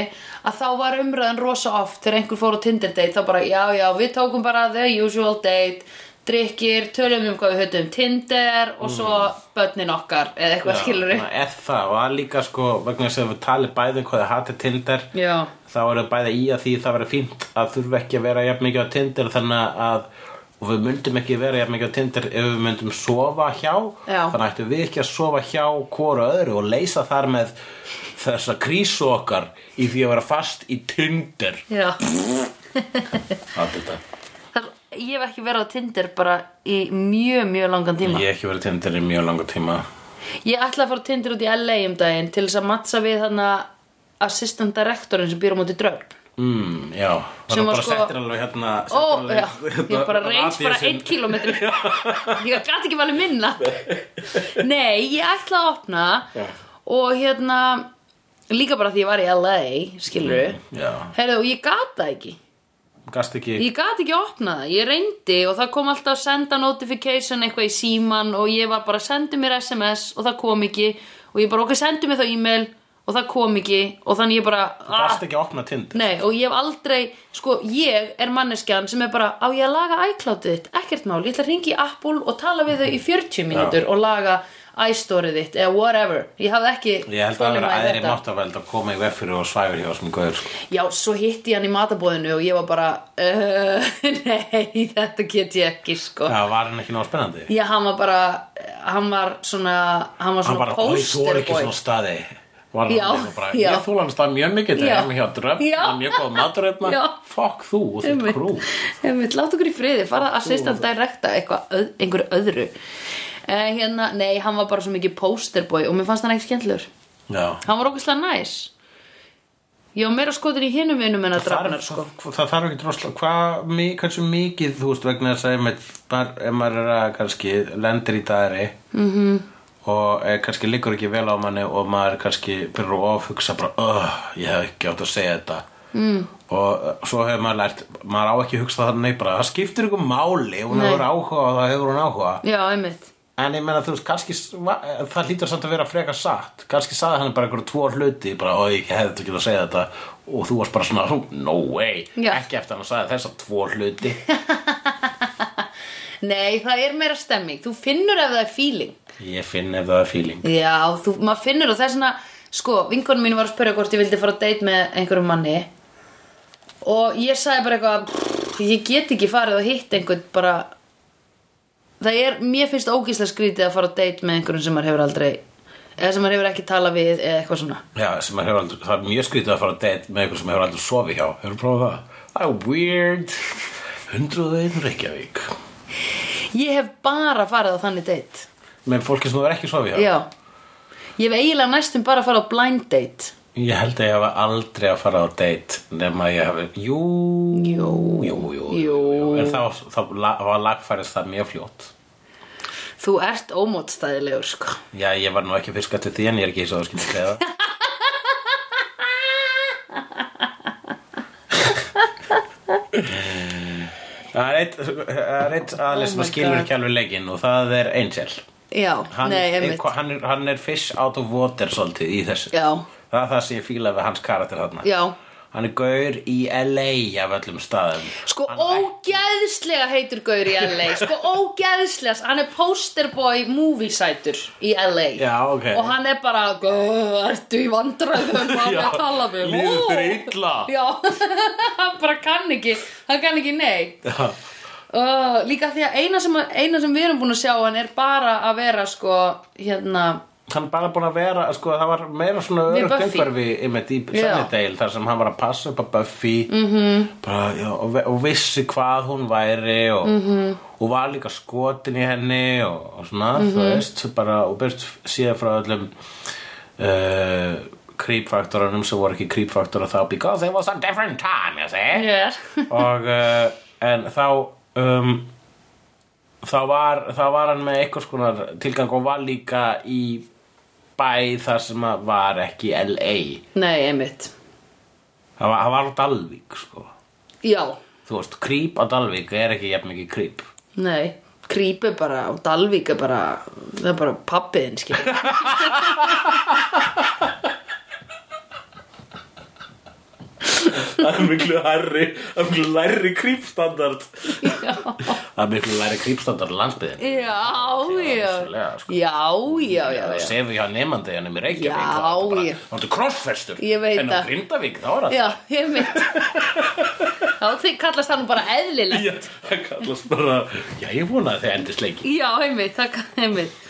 Speaker 1: að þá var umræðan rosa oft þegar einhver fór á Tinder-date þá bara, já, já, við tókum bara the usual date drikkir, tölum um hvað við höfðum um Tinder og svo
Speaker 2: Mm.
Speaker 1: börnin okkar eða eitthvað já, skilur
Speaker 2: þannig að er það var líka sko vegna þess að við talið bæði um hvað þið hatið Tinder
Speaker 1: Já,
Speaker 2: þá eru bæði í að því það verið fínt að þurfa ekki að vera jafn mikið á Tinder þannig að og við myndum ekki vera jafn mikið á Tinder ef við myndum sofa hjá
Speaker 1: Já.
Speaker 2: þannig ættum við ekki að sofa hjá hvora öðru og leysa þar með þessa krísu okkar í því að vera fast í Tinder
Speaker 1: já
Speaker 2: allt þetta
Speaker 1: það, Ég hef ekki verið á Tinder bara í mjög, mjög langan tíma
Speaker 2: Ég hef ekki verið Tinder í mjög langa tíma
Speaker 1: Ég ætla að fara á Tinder út í LA um daginn til þess að mattsa við hann assistant directorin sem býr á móti drögn
Speaker 2: mm, Já,
Speaker 1: Sem
Speaker 2: það
Speaker 1: var
Speaker 2: bara
Speaker 1: sko-
Speaker 2: settir alveg hérna
Speaker 1: Ó,
Speaker 2: settir alveg hérna
Speaker 1: já, ég
Speaker 2: *laughs*
Speaker 1: bara reyns bara
Speaker 2: radíusinn.
Speaker 1: einn kílómetri Ég gæti ekki valið minna Nei, ég ætla að opna
Speaker 2: Já.
Speaker 1: Og hérna Líka bara því ég var í LA Skilur við
Speaker 2: Já,
Speaker 1: Herðu, og ég gat það ekki
Speaker 2: gast ekki
Speaker 1: Ég gat ekki að opna það, ég reyndi og það kom alltaf að senda notification eitthvað í síman og ég var bara að senda mér SMS og það kom ekki og ég bara okkur sendu mér þá e-mail og það kom ekki og þannig ég bara ah,
Speaker 2: Gast ekki að opna Tinder
Speaker 1: Nei, og ég hef aldrei, sko, ég er manneskjan sem er bara, á ég að laga iCloud-ið þitt, ekkert mál, ég ætla að ringi í Apple og tala við þau í 40 mínútur og laga iStory þitt eða whatever, ég hafði ekki
Speaker 2: Ég held að það vera
Speaker 1: þolinmæði
Speaker 2: aðri
Speaker 1: þetta.
Speaker 2: máttaveld að koma í veg fyrir og svæfur hjá sem gauður sko.
Speaker 1: Já, svo hitti ég hann í matabóðinu og ég var bara, uh, *laughs* nei, þetta get ég ekki, sko.
Speaker 2: Það var hann ekki náðu spennandi
Speaker 1: Já, hann var bara, hann var svona, hann var
Speaker 2: Hann
Speaker 1: svona
Speaker 2: bara, oi, þú
Speaker 1: poster
Speaker 2: er ekki
Speaker 1: boy.
Speaker 2: svona staði Var hann
Speaker 1: Já,
Speaker 2: eitthvað bara,
Speaker 1: já.
Speaker 2: Ég þúla hann stað mjög mikið
Speaker 1: Já.
Speaker 2: Þegar hann hjá dröfn,
Speaker 1: Já.
Speaker 2: hann er mjög góð maturöfna
Speaker 1: Já.
Speaker 2: Fuck þú, og þitt
Speaker 1: Einmitt.
Speaker 2: krú
Speaker 1: Einmitt, láta okkur í friði, fara að sýsta að direkta eitthvað, öð, einhverju öðru eh, hérna, nei, hann var bara svo mikið posterboy og mér fannst hann ekki skemmtlur
Speaker 2: Já
Speaker 1: hann var okkurslega næs ég var meira skotin í hinum vinum en að
Speaker 2: Það
Speaker 1: drafnar
Speaker 2: þarf-
Speaker 1: sko
Speaker 2: það- það þarf ekki drosla hvað, mi- hversu mikið þú veist vegna þess að einmitt, bar- ef maður er að kannski lendir í dagari -hmm.
Speaker 1: Mhm.
Speaker 2: og e, kannski liggur ekki vel á manni og maður kannski byrjar að ofhugsa bara, oh, ég hef ekki átt að segja þetta mm. og eh, svo hefur maður lært maður á ekki að hugsa þannig bara það skiptir ykkur máli, hún
Speaker 1: Nei.
Speaker 2: hefur áhuga og það hefur hún áhuga
Speaker 1: já, einmitt,
Speaker 2: En ég meina, þú veist, kannski, s- va- eh, það hlýtur samt að vera frekar satt. Kannski sagði hann bara einhverju tvo hluti, bara, oi, ég hefði þetta ekki að segja þetta. Og þú varst bara svona, "Hú, no way,
Speaker 1: Já.
Speaker 2: ekki eftir hann að sagði þessa tvo hluti.
Speaker 1: nei, það er meira stemming þú finnur ef það er feeling
Speaker 2: Ég finn ef það er feeling.
Speaker 1: Já, þú, maður finnur það þessna sko, vinkonum mín var að spyrja hvort ég vildi fara að date með einhverjum manni og ég sagði bara eitthvað "Pff, ég get ekki farið að hitta einhvern bara það er, mér finnst ógíslega skrítið að fara að date með einhverjum sem maður hefur aldrei eða sem maður hefur ekki talað við eða eitthvað svona
Speaker 2: Já, sem maður hefur aldrei, það er mjög skrítið að fara að date með einhver sem hefur aldrei sofið hjá. Hefur prófað það? Það er weird. 101 Reykjavík.
Speaker 1: ég hef bara farið á þannig date
Speaker 2: Með fólki sem þú er ekki sofið hjá.
Speaker 1: Já, ég hef eiginlega næstum bara farið á blind date
Speaker 2: Ég held að ég hafa aldrei að fara á date nema að ég hafi, jú,
Speaker 1: Jú.
Speaker 2: jú, jú,
Speaker 1: Jú.
Speaker 2: En þá, þá la- var lagfærist það mjög fljótt.
Speaker 1: Þú ert ómótstæðilegur, sko.
Speaker 2: Já, ég var nú ekki fyrst til því en ég er ekki eins og það skilja kleiða. Það er eitt, það er eitt aðli
Speaker 1: Oh
Speaker 2: sem
Speaker 1: my
Speaker 2: skilur
Speaker 1: God.
Speaker 2: ekki alveg leikinn og það er Angel.
Speaker 1: Já,
Speaker 2: Hann,
Speaker 1: nei, einmitt.
Speaker 2: eitthvað- hann, er, hann er fish out of water svolítið í þessu.
Speaker 1: Já,
Speaker 2: Það er það sem ég fíla við hans karakter þarna.
Speaker 1: já.
Speaker 2: Hann er gaur í LA af öllum staðum.
Speaker 1: Sko ógeðslega heitur gaur í LA Sko ógeðslega Hann er posterboy moviesætur í LA
Speaker 2: Já, ok.
Speaker 1: Og hann er bara "Gö, Ertu í vandræðum Hvað er
Speaker 2: Já,
Speaker 1: að tala við
Speaker 2: líður
Speaker 1: Ó.
Speaker 2: þér illa?
Speaker 1: Já, *laughs* hann bara kann ekki Hann kann ekki nei
Speaker 2: Já.
Speaker 1: uh, Líka því að eina sem, eina sem við erum búin að sjá Hann er bara að vera sko Hérna
Speaker 2: hann bara búin að vera, sko, það var meira svona
Speaker 1: Við
Speaker 2: örugt
Speaker 1: Buffy.
Speaker 2: umhverfi einmitt í
Speaker 1: Já. Mhm.
Speaker 2: Sunnydale þar sem hann var að passa upp á Buffy -hmm. bara, já, og, ve- og vissi hvað hún væri og,
Speaker 1: Mhm.
Speaker 2: -hmm. og var líka skotin í henni og, og svona, þú
Speaker 1: Mhm.
Speaker 2: veist bara, og byrst síðan frá öllum uh, creepfaktorunum sem voru ekki creepfaktora þá because it was a different time, you see
Speaker 1: yeah.
Speaker 2: og uh, en þá um, þá var þá var hann með einhvers konar tilgang og var líka í bæ þar sem að var ekki LA
Speaker 1: Nei, einmitt
Speaker 2: það var, það var á Dalvík sko
Speaker 1: Já,
Speaker 2: þú veist, creep á Dalvík er ekki jafn mikið creep
Speaker 1: nei Krýpi bara og Dalvík er bara Það er bara pappiðin skil
Speaker 2: það er miklu hærri það er miklu læri creep standard
Speaker 1: Já
Speaker 2: það er miklu læri creep standard á landsbyðin
Speaker 1: Já, já,
Speaker 2: vissulega, sko.
Speaker 1: já, já, já,
Speaker 2: það
Speaker 1: já.
Speaker 2: sefi hjá nefandi hann í Reykjavík
Speaker 1: Já,
Speaker 2: þá er þetta bara-
Speaker 1: ég-
Speaker 2: þá er þetta krossfestur
Speaker 1: Ég veit
Speaker 2: en á
Speaker 1: það.
Speaker 2: Grindavík þá er það
Speaker 1: Já, ég
Speaker 2: *laughs*
Speaker 1: mitt Þá þið kallast það nú bara eðlilegt
Speaker 2: Já, það kallast bara Já, ég vona að þið endist leiki
Speaker 1: Já, einmitt, það kann einmitt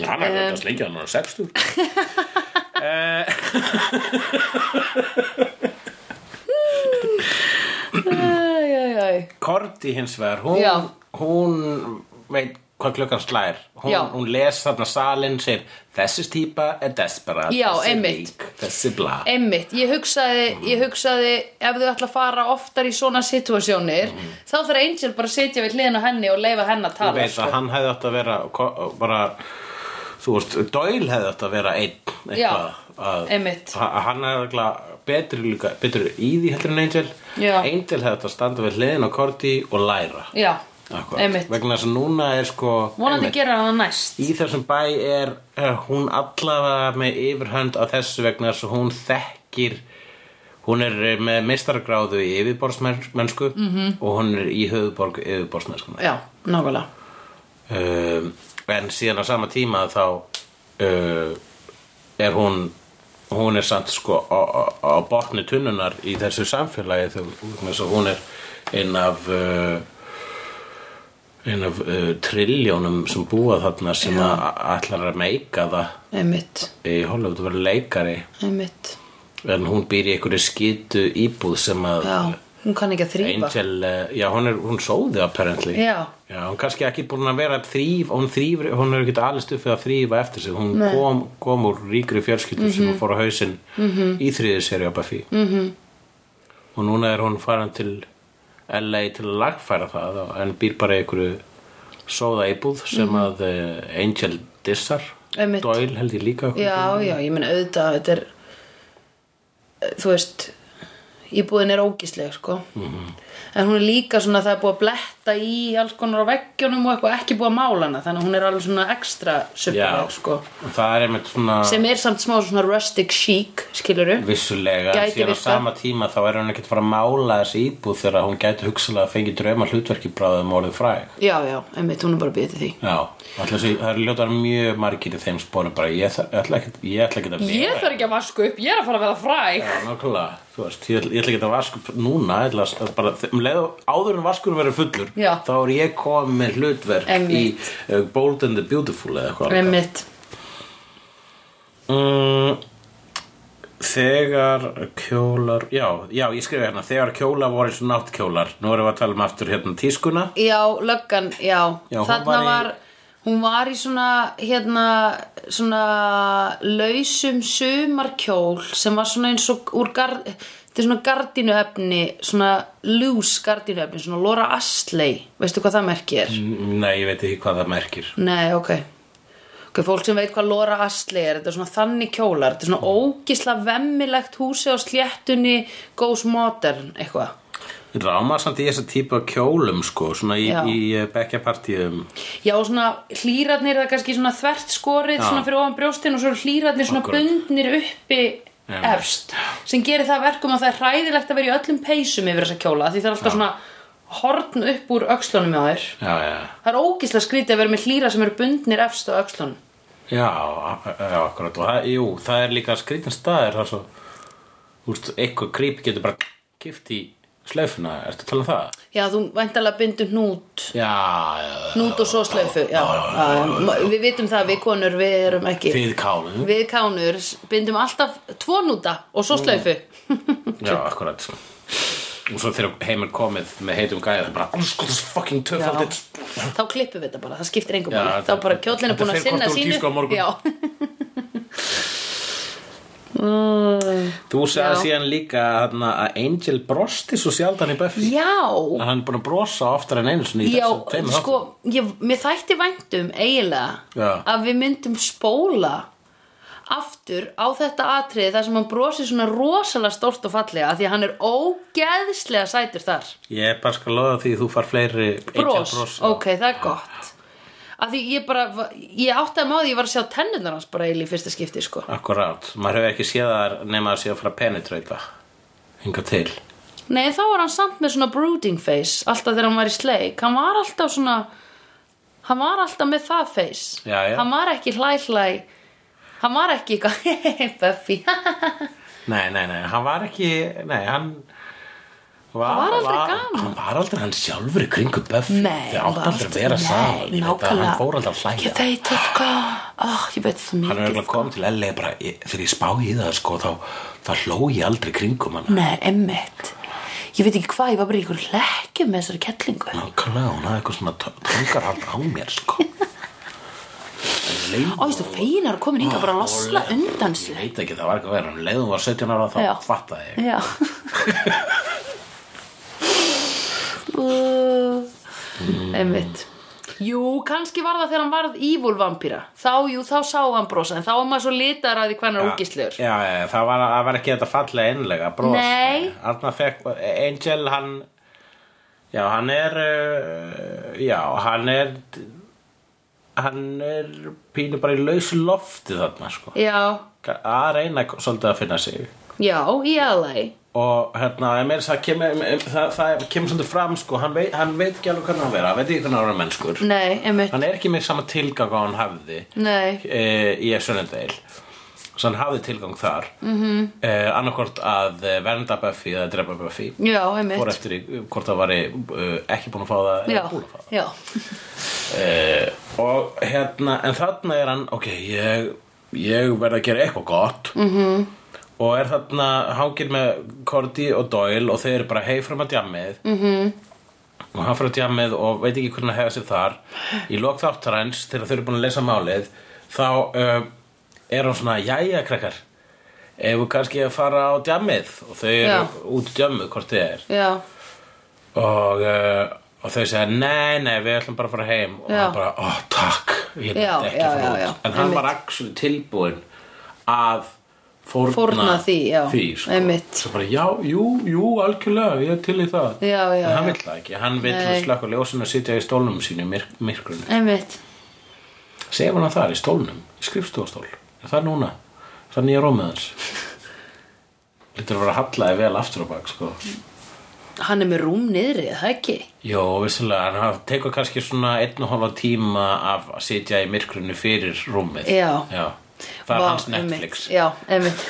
Speaker 2: Já, hann er
Speaker 1: Eh.
Speaker 2: endist leiki, hann er 60
Speaker 1: Æj, æj, æj
Speaker 2: Korti hins vegar, hún,
Speaker 1: Já.
Speaker 2: hún veit hvað klukkan slær hún,
Speaker 1: Já.
Speaker 2: hún les þarna salin sér þessi típa er desperat
Speaker 1: Já,
Speaker 2: þessi
Speaker 1: einmitt.
Speaker 2: rík, þessi bla
Speaker 1: Einmitt, ég hugsaði, ég hugsaði ef þau ætla að fara oftar í svona situasjónir þá þarf Angel bara að sitja við hliðin á henni og leifa henn að
Speaker 2: Mhm. Ég
Speaker 1: tala sko.
Speaker 2: veit að hann hefði átt að vera ko- bara, þú veist, Doyle hefði átt að vera einn
Speaker 1: Já,
Speaker 2: að,
Speaker 1: einmitt.
Speaker 2: að- að Hann hefði örugglega betri, líka, betri í því heldur en Angel
Speaker 1: Já.
Speaker 2: Angel hefði átt að standa við hliðin á Korti og læra
Speaker 1: Já,
Speaker 2: Akkurat.
Speaker 1: einmitt
Speaker 2: Vegna þess að núna er sko
Speaker 1: Vonandi
Speaker 2: einmitt,
Speaker 1: gera hann það næst
Speaker 2: Í þessum bæ er uh, hún allavega með yfirhönd á þessu vegna þess að hún þekkir Hún er eh, með meistaragráðu í yfirborðsmennsku
Speaker 1: Mhm.
Speaker 2: -hmm. og hún er í höfuborg yfirborðsmennskunar.
Speaker 1: Já, nákvæmlega
Speaker 2: Um, en síðan á sama tíma þá uh, er hún, hún er samt sko á, á, á botni tunnunar í þessu samfélagi þegar hún er inn af, uh, inn af uh, trilljónum sem búa þarna sem að ætlar að meika það
Speaker 1: Einmitt,
Speaker 2: í Hollywood að vera leikari
Speaker 1: einmitt
Speaker 2: en hún býr í einhverju skýtu íbúð sem að
Speaker 1: Já, hún kann ekki að þrýpa
Speaker 2: Angel, eh, já hún er, hún sóði apparently
Speaker 1: Já.
Speaker 2: Já, hún kannski ekki búin að vera þrýf, hún þrýf, hún er ekki allist upp við að þrýfa eftir sig, hún kom, kom úr ríkri fjölskyldu sem
Speaker 1: Mhm.
Speaker 2: hún fór á hausinn -hmm. í þriðið sér á Buffy -hmm. og núna er hún farin til LA til að lagfæra það og- en býr bara í einhverju sóða íbúð sem að eh, Angel dissar,
Speaker 1: Mhm. Einmitt.
Speaker 2: Doyle held ég líka
Speaker 1: Já, já, ég meina auðvitað þetta er, þú veist íbúðin er ógísleg sko.
Speaker 2: Mhm.
Speaker 1: -hmm. en hún er líka svona það er búið að bletta í alls konar á veggjunum og eitthvað ekki búið að mála hana þannig að hún er alveg svona ekstra
Speaker 2: Já.
Speaker 1: suppaleg sko.
Speaker 2: það er einmitt svona
Speaker 1: sem er samt smá svona rustic chic skiluru
Speaker 2: Vissulega, en
Speaker 1: Gæti
Speaker 2: síðan á
Speaker 1: virkað.
Speaker 2: sama tíma þá er hún ekkert fara að mála þessi íbúð þegar hún gæti hugsalega að fengi drauma hlutverki bráðum um orðið fræg.
Speaker 1: Já, já, einmitt, hún er bara að býta því
Speaker 2: Já, alltaf því, það eru ljótar mjög margir í þeim spónum bara, ég þar- ég ætla ekkert ég ætla ekkert að vera.
Speaker 1: Ég þarf ekki að vaska upp, ég er að fara að vera fræg
Speaker 2: Já, nákvæmlega, þú veist, ég ætla, ég ætla ekkert að vasku upp núna, ég ætla að bara, þe- um leið og áður en vaskurinn verður fullur,
Speaker 1: Já.
Speaker 2: þá er ég komið með hlutverk
Speaker 1: Einmitt.
Speaker 2: í uh, Bold and the Beautiful eða eitthvað.
Speaker 1: Einmitt,
Speaker 2: Mm, þegar kjólar já, já, ég skrifa hérna þegar kjólar voru eins og náttkjólar nú erum við að tala um aftur hérna tískuna
Speaker 1: já, löggan, já,
Speaker 2: Já, hún
Speaker 1: þarna
Speaker 2: var í-
Speaker 1: var, hún var í svona hérna svona lausum sumarkjól sem var svona eins og úr gard, þetta er svona gardinuefni svona loose gardinuefni svona Laura Astley, veistu hvað það merki
Speaker 2: Mm.
Speaker 1: er?
Speaker 2: Nei, ég veit ekki hvað það merkir
Speaker 1: Nei, ok Ok, fólk sem veit hvað Laura Astley er þetta er svona þannig kjólar, þetta er
Speaker 2: Mm.
Speaker 1: svona ógisla vemmilegt húsi á sléttunni goes modern, eitthvað
Speaker 2: Rámar samt í þessa típu af kjólum sko, svona í,
Speaker 1: Já.
Speaker 2: í bekkjapartíum
Speaker 1: Já, og svona hlýrarnir, það er kannski svona þvert skorið
Speaker 2: Já.
Speaker 1: svona fyrir ofan brjóstin og svo eru hlýrarnir svona
Speaker 2: Akkurat.
Speaker 1: bundnir uppi
Speaker 2: Já.
Speaker 1: efst sem gerir það að verkum að það er hræðilegt að vera í öllum peysum yfir þessa kjóla því það er alltaf svona horn upp úr öxlunum á þér
Speaker 2: Já, já,
Speaker 1: Það er ógislega skrítið að vera með hlýra sem eru bundnir efst á öxlunum
Speaker 2: já, já akkurat og það, jú, það er líka skrítin staðir þar svo, úrst, eitthvað gríp getur bara kift í sleifuna, ertu að tala um það?
Speaker 1: Já, þú væntalega bindur hnút
Speaker 2: Já, já,
Speaker 1: hnút og svo slöfu já, já, Við vitum það, við konur, við erum ekki
Speaker 2: við kálum
Speaker 1: Við kánur bindum alltaf tvo núta og svo slöfu
Speaker 2: Já, akkurat Og svo þegar heim er komið með heitum gæða það er bara, sko, þessi fucking töfaldið
Speaker 1: Þá klippum við þetta bara, það skiptir engum
Speaker 2: Já,
Speaker 1: máli Þá
Speaker 2: þetta-
Speaker 1: bara kjóllin er
Speaker 2: þetta
Speaker 1: búin að
Speaker 2: fer
Speaker 1: sinna
Speaker 2: hvort úr
Speaker 1: sínu
Speaker 2: tísku á morgun. *laughs*
Speaker 1: Já
Speaker 2: Þú sagði
Speaker 1: Já.
Speaker 2: síðan líka hana, að Angel brosti svo sjaldan í Buffy
Speaker 1: Já,
Speaker 2: að hann er búin að brosa oftar en einu svona í
Speaker 1: já
Speaker 2: þessum tveimur
Speaker 1: sko, ég, mér þætti væntum eiginlega
Speaker 2: Já.
Speaker 1: að við myndum spóla aftur á þetta atriði þar sem hann brosir svona rosalega stórt og fallega af því að hann er ógeðslega sætur þar
Speaker 2: þáttum. Ég er bara skal loða því þú far fleiri
Speaker 1: bros,
Speaker 2: Angel bros
Speaker 1: ok, það er gott af því ég bara, ég átti að maður ég var að sjá tennurnar hans bara eiginlega í fyrsta skipti sko.
Speaker 2: Akkurát, maður hefur ekki séð þar nema að sé að fara að penetrata Hinga til
Speaker 1: nei, þá var hann samt með svona brooding face alltaf þegar hann var í sleik hann var alltaf svona hann var alltaf með það face
Speaker 2: Já, já.
Speaker 1: hann var ekki hlæ hlæ hann var ekki eitthvað *laughs* Buffy
Speaker 2: Nei, nei, nei, hann var ekki Nei, hann Var,
Speaker 1: Hann var aldrei gaman.
Speaker 2: Hann var aldrei hann sjálfur í kringu Buffy
Speaker 1: nei,
Speaker 2: Þau átti aldrei að vera
Speaker 1: nei,
Speaker 2: saman Ég veit að
Speaker 1: nákvæmlega.
Speaker 2: Hann fór aldrei að hlæja
Speaker 1: ég sko. veit það sko, oh, ég veit það
Speaker 2: Hann er
Speaker 1: mikið
Speaker 2: eiginlega kom til LA bara ég- Þegar ég spá í það sko Þá, þá hló ég aldrei í kringum hann
Speaker 1: nei, emmitt ég veit ekki hvað, ég var bara í ykkur hlekkjum með þessari kettlingu
Speaker 2: Nákvæmlega, hún hafði eitthvað svona Tungarhald á mér sko Leim,
Speaker 1: Ó, þú feinar að komin hingað bara að losna undan
Speaker 2: Ég
Speaker 1: sér.
Speaker 2: veit ekki, það var eitthvað Um verið Hann leiðum var 17 ára þá
Speaker 1: Já.
Speaker 2: fattaði ég
Speaker 1: Já. Uh, Einmitt. Jú, kannski var það þegar hann varð evil vampíra. Þá, jú, þá sá hann brosa, en þá var maður svo litar að því hvernig hann ógislegur.
Speaker 2: Já, já, já, það var, það var ekki þetta fallega einlega bros.
Speaker 1: Nei.
Speaker 2: Arna fekk, Angel hann Já, hann er uh, Já, hann er Hann er pínu bara í lausu lofti þarna sko.
Speaker 1: Já,
Speaker 2: að reyna svolítið að finna sig
Speaker 1: já, í LA.
Speaker 2: og hérna, ég meira það kemur það, það kemur svolítið fram sko, hann veit, hann veit ekki alveg hvernig hann á að vera, hann veit ekki hvernig hann á að vera mennskur
Speaker 1: Nei, einmitt.
Speaker 2: hann er ekki með sama tilgang á hann hafði
Speaker 1: Nei,
Speaker 2: e, í Sunnendale svo hann hafði tilgang þar mm -hmm. e, annarkvort að eh, vernda Buffy eða drepa Buffy
Speaker 1: já,
Speaker 2: fór
Speaker 1: einmitt.
Speaker 2: eftir í hvort það var eh, ekki búin að fá það
Speaker 1: Já,
Speaker 2: eða búin að fá það
Speaker 1: já,
Speaker 2: Eh, og hérna, en þarna er hann ok, ég, ég verð að gera eitthvað gott -hmm. og er þarna hangir með Cordy og Doyle og þeir eru bara hey fram að djammið -hmm. og hann fyrir að djammið og veit ekki hvernig að hefa sér þar í lok þáttarans þegar þau eru búin að lesa málið þá uh, er hann svona jæja krakkar ef við kannski að fara á djammið og þau
Speaker 1: Já.
Speaker 2: eru út í djammuð hvort þið er
Speaker 1: já,
Speaker 2: og, uh, og þau segja nei, nei, við ætlum bara að fara heim og
Speaker 1: Já.
Speaker 2: hann bara, ó, takk ég myndi
Speaker 1: Já,
Speaker 2: ekki
Speaker 1: já,
Speaker 2: að fara
Speaker 1: já, já,
Speaker 2: út en hann
Speaker 1: einmitt.
Speaker 2: var actually tilbúinn að fórna,
Speaker 1: Fórna því, já,
Speaker 2: sko.
Speaker 1: einmitt.
Speaker 2: svo bara, já, jú, jú, algjörlega ég er til í það
Speaker 1: Já, já,
Speaker 2: en hann
Speaker 1: já.
Speaker 2: vill það ekki, hann vill
Speaker 1: Nei.
Speaker 2: slökka ljósinu og sitja í stólnum sínu í myrk, myrkrunum
Speaker 1: einmitt.
Speaker 2: segja hann það í stólnum, í skrifstofastól er það núna, Er það nýja rómið
Speaker 1: *laughs*
Speaker 2: hans lítur að vera hallaði vel aftur á bak sko.
Speaker 1: Hann er með rúm niðri, er það ekki?
Speaker 2: Jó, vissulega, en það tekur kannski svona einn og hálfa tíma af að sitja í myrkrunni fyrir rúmið.
Speaker 1: Já.
Speaker 2: Það er
Speaker 1: Vá,
Speaker 2: hans
Speaker 1: einmitt,
Speaker 2: Netflix.
Speaker 1: já, einmitt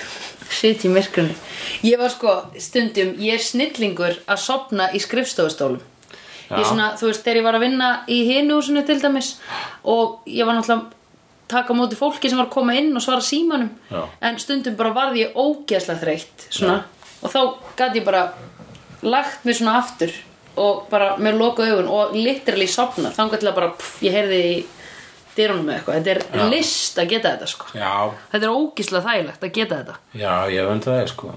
Speaker 1: Sitt í myrkunni Ég var sko, stundum, ég er snillingur að sopna í skrifstofustólum Ég
Speaker 2: Já.
Speaker 1: svona, þú veist, þegar ég var að vinna í hinu húsinu til dæmis og ég var náttúrulega að taka á móti fólki sem var að koma inn og svara símanum
Speaker 2: Já.
Speaker 1: en stundum bara varði ég ógeðslega þreytt svona, og þá gat ég bara lagt mig svona aftur og bara með loka augun og literally sopna þangar til að bara, pff, ég heyrði í dyrunum með eitthvað þetta er
Speaker 2: Já.
Speaker 1: list að geta þetta sko
Speaker 2: Já,
Speaker 1: þetta er ógíslega þægilegt að geta þetta
Speaker 2: já, ég veit það sko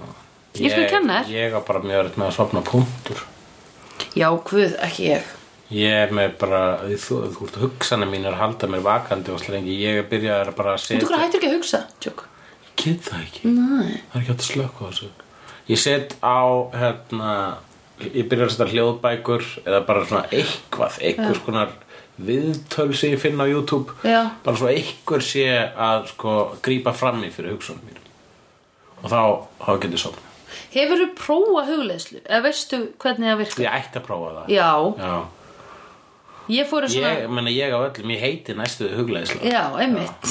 Speaker 1: Ég skal kenna þér.
Speaker 2: Ég er bara mjög öll með að sofna punktur
Speaker 1: já, hvað, ekki ég
Speaker 2: Ég er með bara, þú, þú veist, hugsana mínar halda mér vakandi og slengi Ég er byrjað að bara
Speaker 1: þú
Speaker 2: setja
Speaker 1: hvað hættur ekki að hugsa, tjók
Speaker 2: Ég get það ekki
Speaker 1: Nei.
Speaker 2: Það er ekki hægt að slökka á þessu Ég set á, hérna Ég byrja að setja hljóðbækur Eða bara svona eitthvað Eitthvað skonar viðtöl sem ég finn á YouTube
Speaker 1: Já.
Speaker 2: Bara svo eitthvað sé að sko Grípa fram í fyrir hugsunum mér Og þá, þá get ég sofna
Speaker 1: hefur þú prófa hugleðslu eða veistu hvernig það virkar
Speaker 2: Ég ætti að prófa það
Speaker 1: já,
Speaker 2: Já.
Speaker 1: ég fór í svona
Speaker 2: Ég, menna, ég á öllum, ég heiti næstuðu hugleðislega
Speaker 1: já, einmitt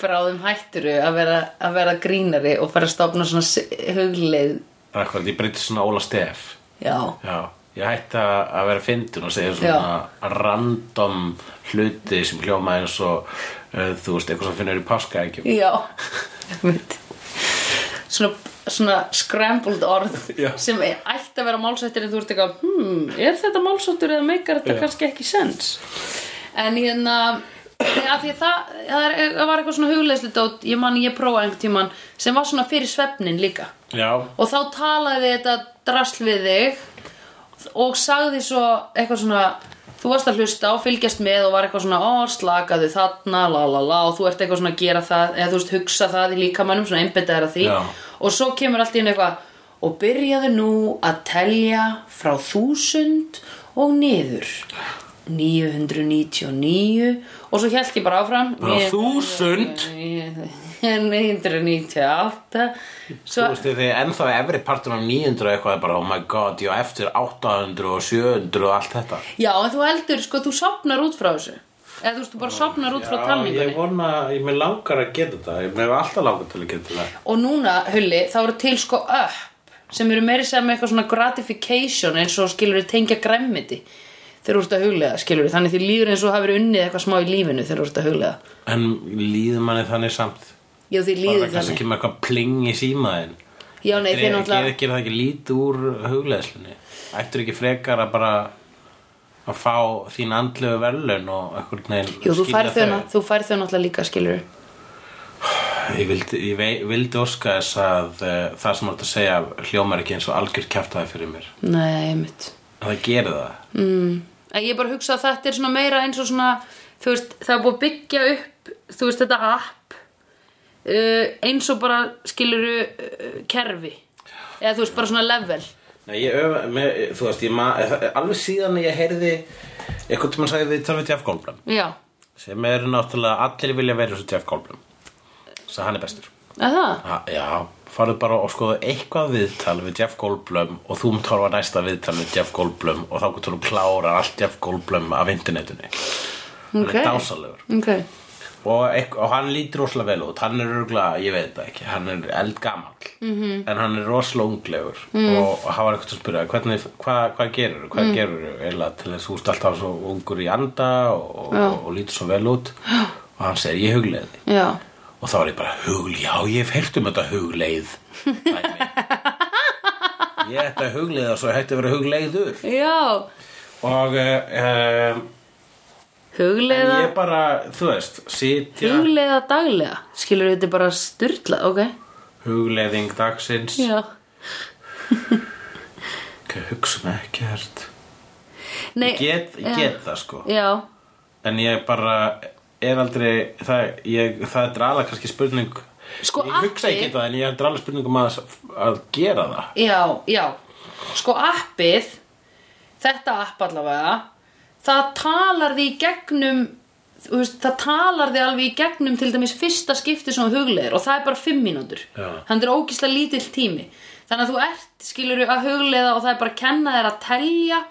Speaker 1: bráðum hætturu að vera, að vera grínari og fara að stopna svona s- hugleið
Speaker 2: Akkurat, ég breyti svona Óla Stef
Speaker 1: já,
Speaker 2: Já, ég hætti að að vera fyndin og segja svona random hluti sem hljóma eins og uh, þú veist, eitthvað sem finnur í páska ekki
Speaker 1: já
Speaker 2: *laughs*
Speaker 1: einmitt svona, svona scrambled orð
Speaker 2: *laughs* Já.
Speaker 1: sem er- ætti að vera málsættir en þú ert eitthvað, hmm, er þetta málsættur eða meikar þetta
Speaker 2: Já.
Speaker 1: kannski ekki sens en hérna að því að það, það, er, það var eitthvað svona hugleðslu dót, ég man ég prófaði einhvern tíman sem var svona fyrir svefnin líka
Speaker 2: Já,
Speaker 1: og þá talaði þetta drasl við þig og sagði svo eitthvað svona þú varst að hlusta og fylgjast með og var eitthvað svona ó, slakaðu þarna, la la la og þú ert eitthvað svona að gera það eða þú veist, hugsa það í líkamannum, svona einbettaðar að því
Speaker 2: Já.
Speaker 1: og svo kemur allt í einu eitthvað og byrjaðu nú að telja frá þúsund og niður 999 og svo held ég bara áfram
Speaker 2: Bara 1000?
Speaker 1: 998
Speaker 2: þú
Speaker 1: svo
Speaker 2: veist, þegar þið ennþá efri partur af 900 og eitthvað er bara, oh my god, já, eftir 800 og 700 og allt þetta
Speaker 1: Já, en þú heldur, sko, þú sopnar út frá þessu Eða þú veist, þú bara sopnar út frá talningunni
Speaker 2: vona, ég með langar að geta þetta Ég með alltaf langar til að geta þetta
Speaker 1: Og núna, Hulli, þá eru til sko upp sem eru meiri sem eitthvað svona gratification eins og skilur við tengja græmmiti þegar þú ert að huglega, skilur við þannig því líður eins og hafa verið unnið eitthvað smá í lífinu þegar þú ert að huglega
Speaker 2: En líður manni þannig samt
Speaker 1: Já, því
Speaker 2: Bara
Speaker 1: líður
Speaker 2: kannski
Speaker 1: þannig
Speaker 2: kemur eitthvað pling í símaðinn
Speaker 1: Já, nei, því
Speaker 2: Gera
Speaker 1: náttúrulega
Speaker 2: gera það ekki lítið úr hugleðslunni Ættur ekki frekar að bara að fá þín andlegu verðlaun og eitthvað neginn
Speaker 1: Jú, þú færð þau, ná- þú færð þau náttúrulega líka, skilur við
Speaker 2: Ég vildi, ég vei, vildi óska þess að uh, það sem þú ert að segja hljómar ekki eins og algjör kjaftaði fyrir mér
Speaker 1: Nei, einmitt
Speaker 2: að það gerir það
Speaker 1: En ég bara hugsa að þetta er svona meira eins og svona, þú veist, það er búið að byggja upp, þú veist, þetta app uh, eins og bara skiluru uh, kerfi. Eða þú veist, bara svona level.
Speaker 2: Nei, ég öf, með, þú veist, ég ma, eh, alveg síðan ég heyrði eitthvað tímann sagði við tölvið Jeff Goldblum
Speaker 1: Já,
Speaker 2: sem eru náttúrulega allir vilja vera svo Jeff Goldblum þess að hann er bestur
Speaker 1: að það?
Speaker 2: Ha, Já, farðu bara og skoðu eitthvað viðtal við Jeff Goldblum og þú myndir horfa á næsta viðtal við Jeff Goldblum og þá getur þú klára allt Jeff Goldblum af internetunni Hann
Speaker 1: Ok.
Speaker 2: er dásalegur
Speaker 1: Ok.
Speaker 2: og, eitth- og hann lítur rosalega vel út hann er örgulega, ég veit það ekki, hann er eldgamall -hmm. en hann er rosalega unglegur mm. og hann var eitthvað að spyrja hvernig, hvað, hvað gerirðu, hvað mm. gerirðu eiginlega til þess að þú ert alltaf svo ungur í anda og, og, og lítur svo vel út og hann segir, ég huglega þig
Speaker 1: Já.
Speaker 2: og þá var ég bara hugl, já ég hef heyrt um þetta hugleið dæmi. ég ætti að hugleiða svo ég hætti að vera hugleiður
Speaker 1: Já.
Speaker 2: og uh, en
Speaker 1: Hugleiða,
Speaker 2: ég bara, þú veist sitja,
Speaker 1: hugleiða daglega. Skiluru, þetta er bara styrla, ok?
Speaker 2: hugleiðing dagsins
Speaker 1: Já.
Speaker 2: ok, hugsa mig ekkert
Speaker 1: Nei,
Speaker 2: ég get, ég get það sko
Speaker 1: já.
Speaker 2: en ég bara er aldrei það, ég, það er drala kannski spurning
Speaker 1: Sko,
Speaker 2: ég hugsa
Speaker 1: appi-
Speaker 2: ekki það en ég er drala spurning um að, að gera það
Speaker 1: Já, já Sko appið Þetta app allavega Það talar því í gegnum þú veist, Það talar því alveg í gegnum Til dæmis fyrsta skipti sem þú hugleiðir Og það er bara fimm mínútur
Speaker 2: Já.
Speaker 1: Þannig er ógislega lítill tími Þannig að þú ert skilur að hugleiða Og það er bara að kenna þér að telja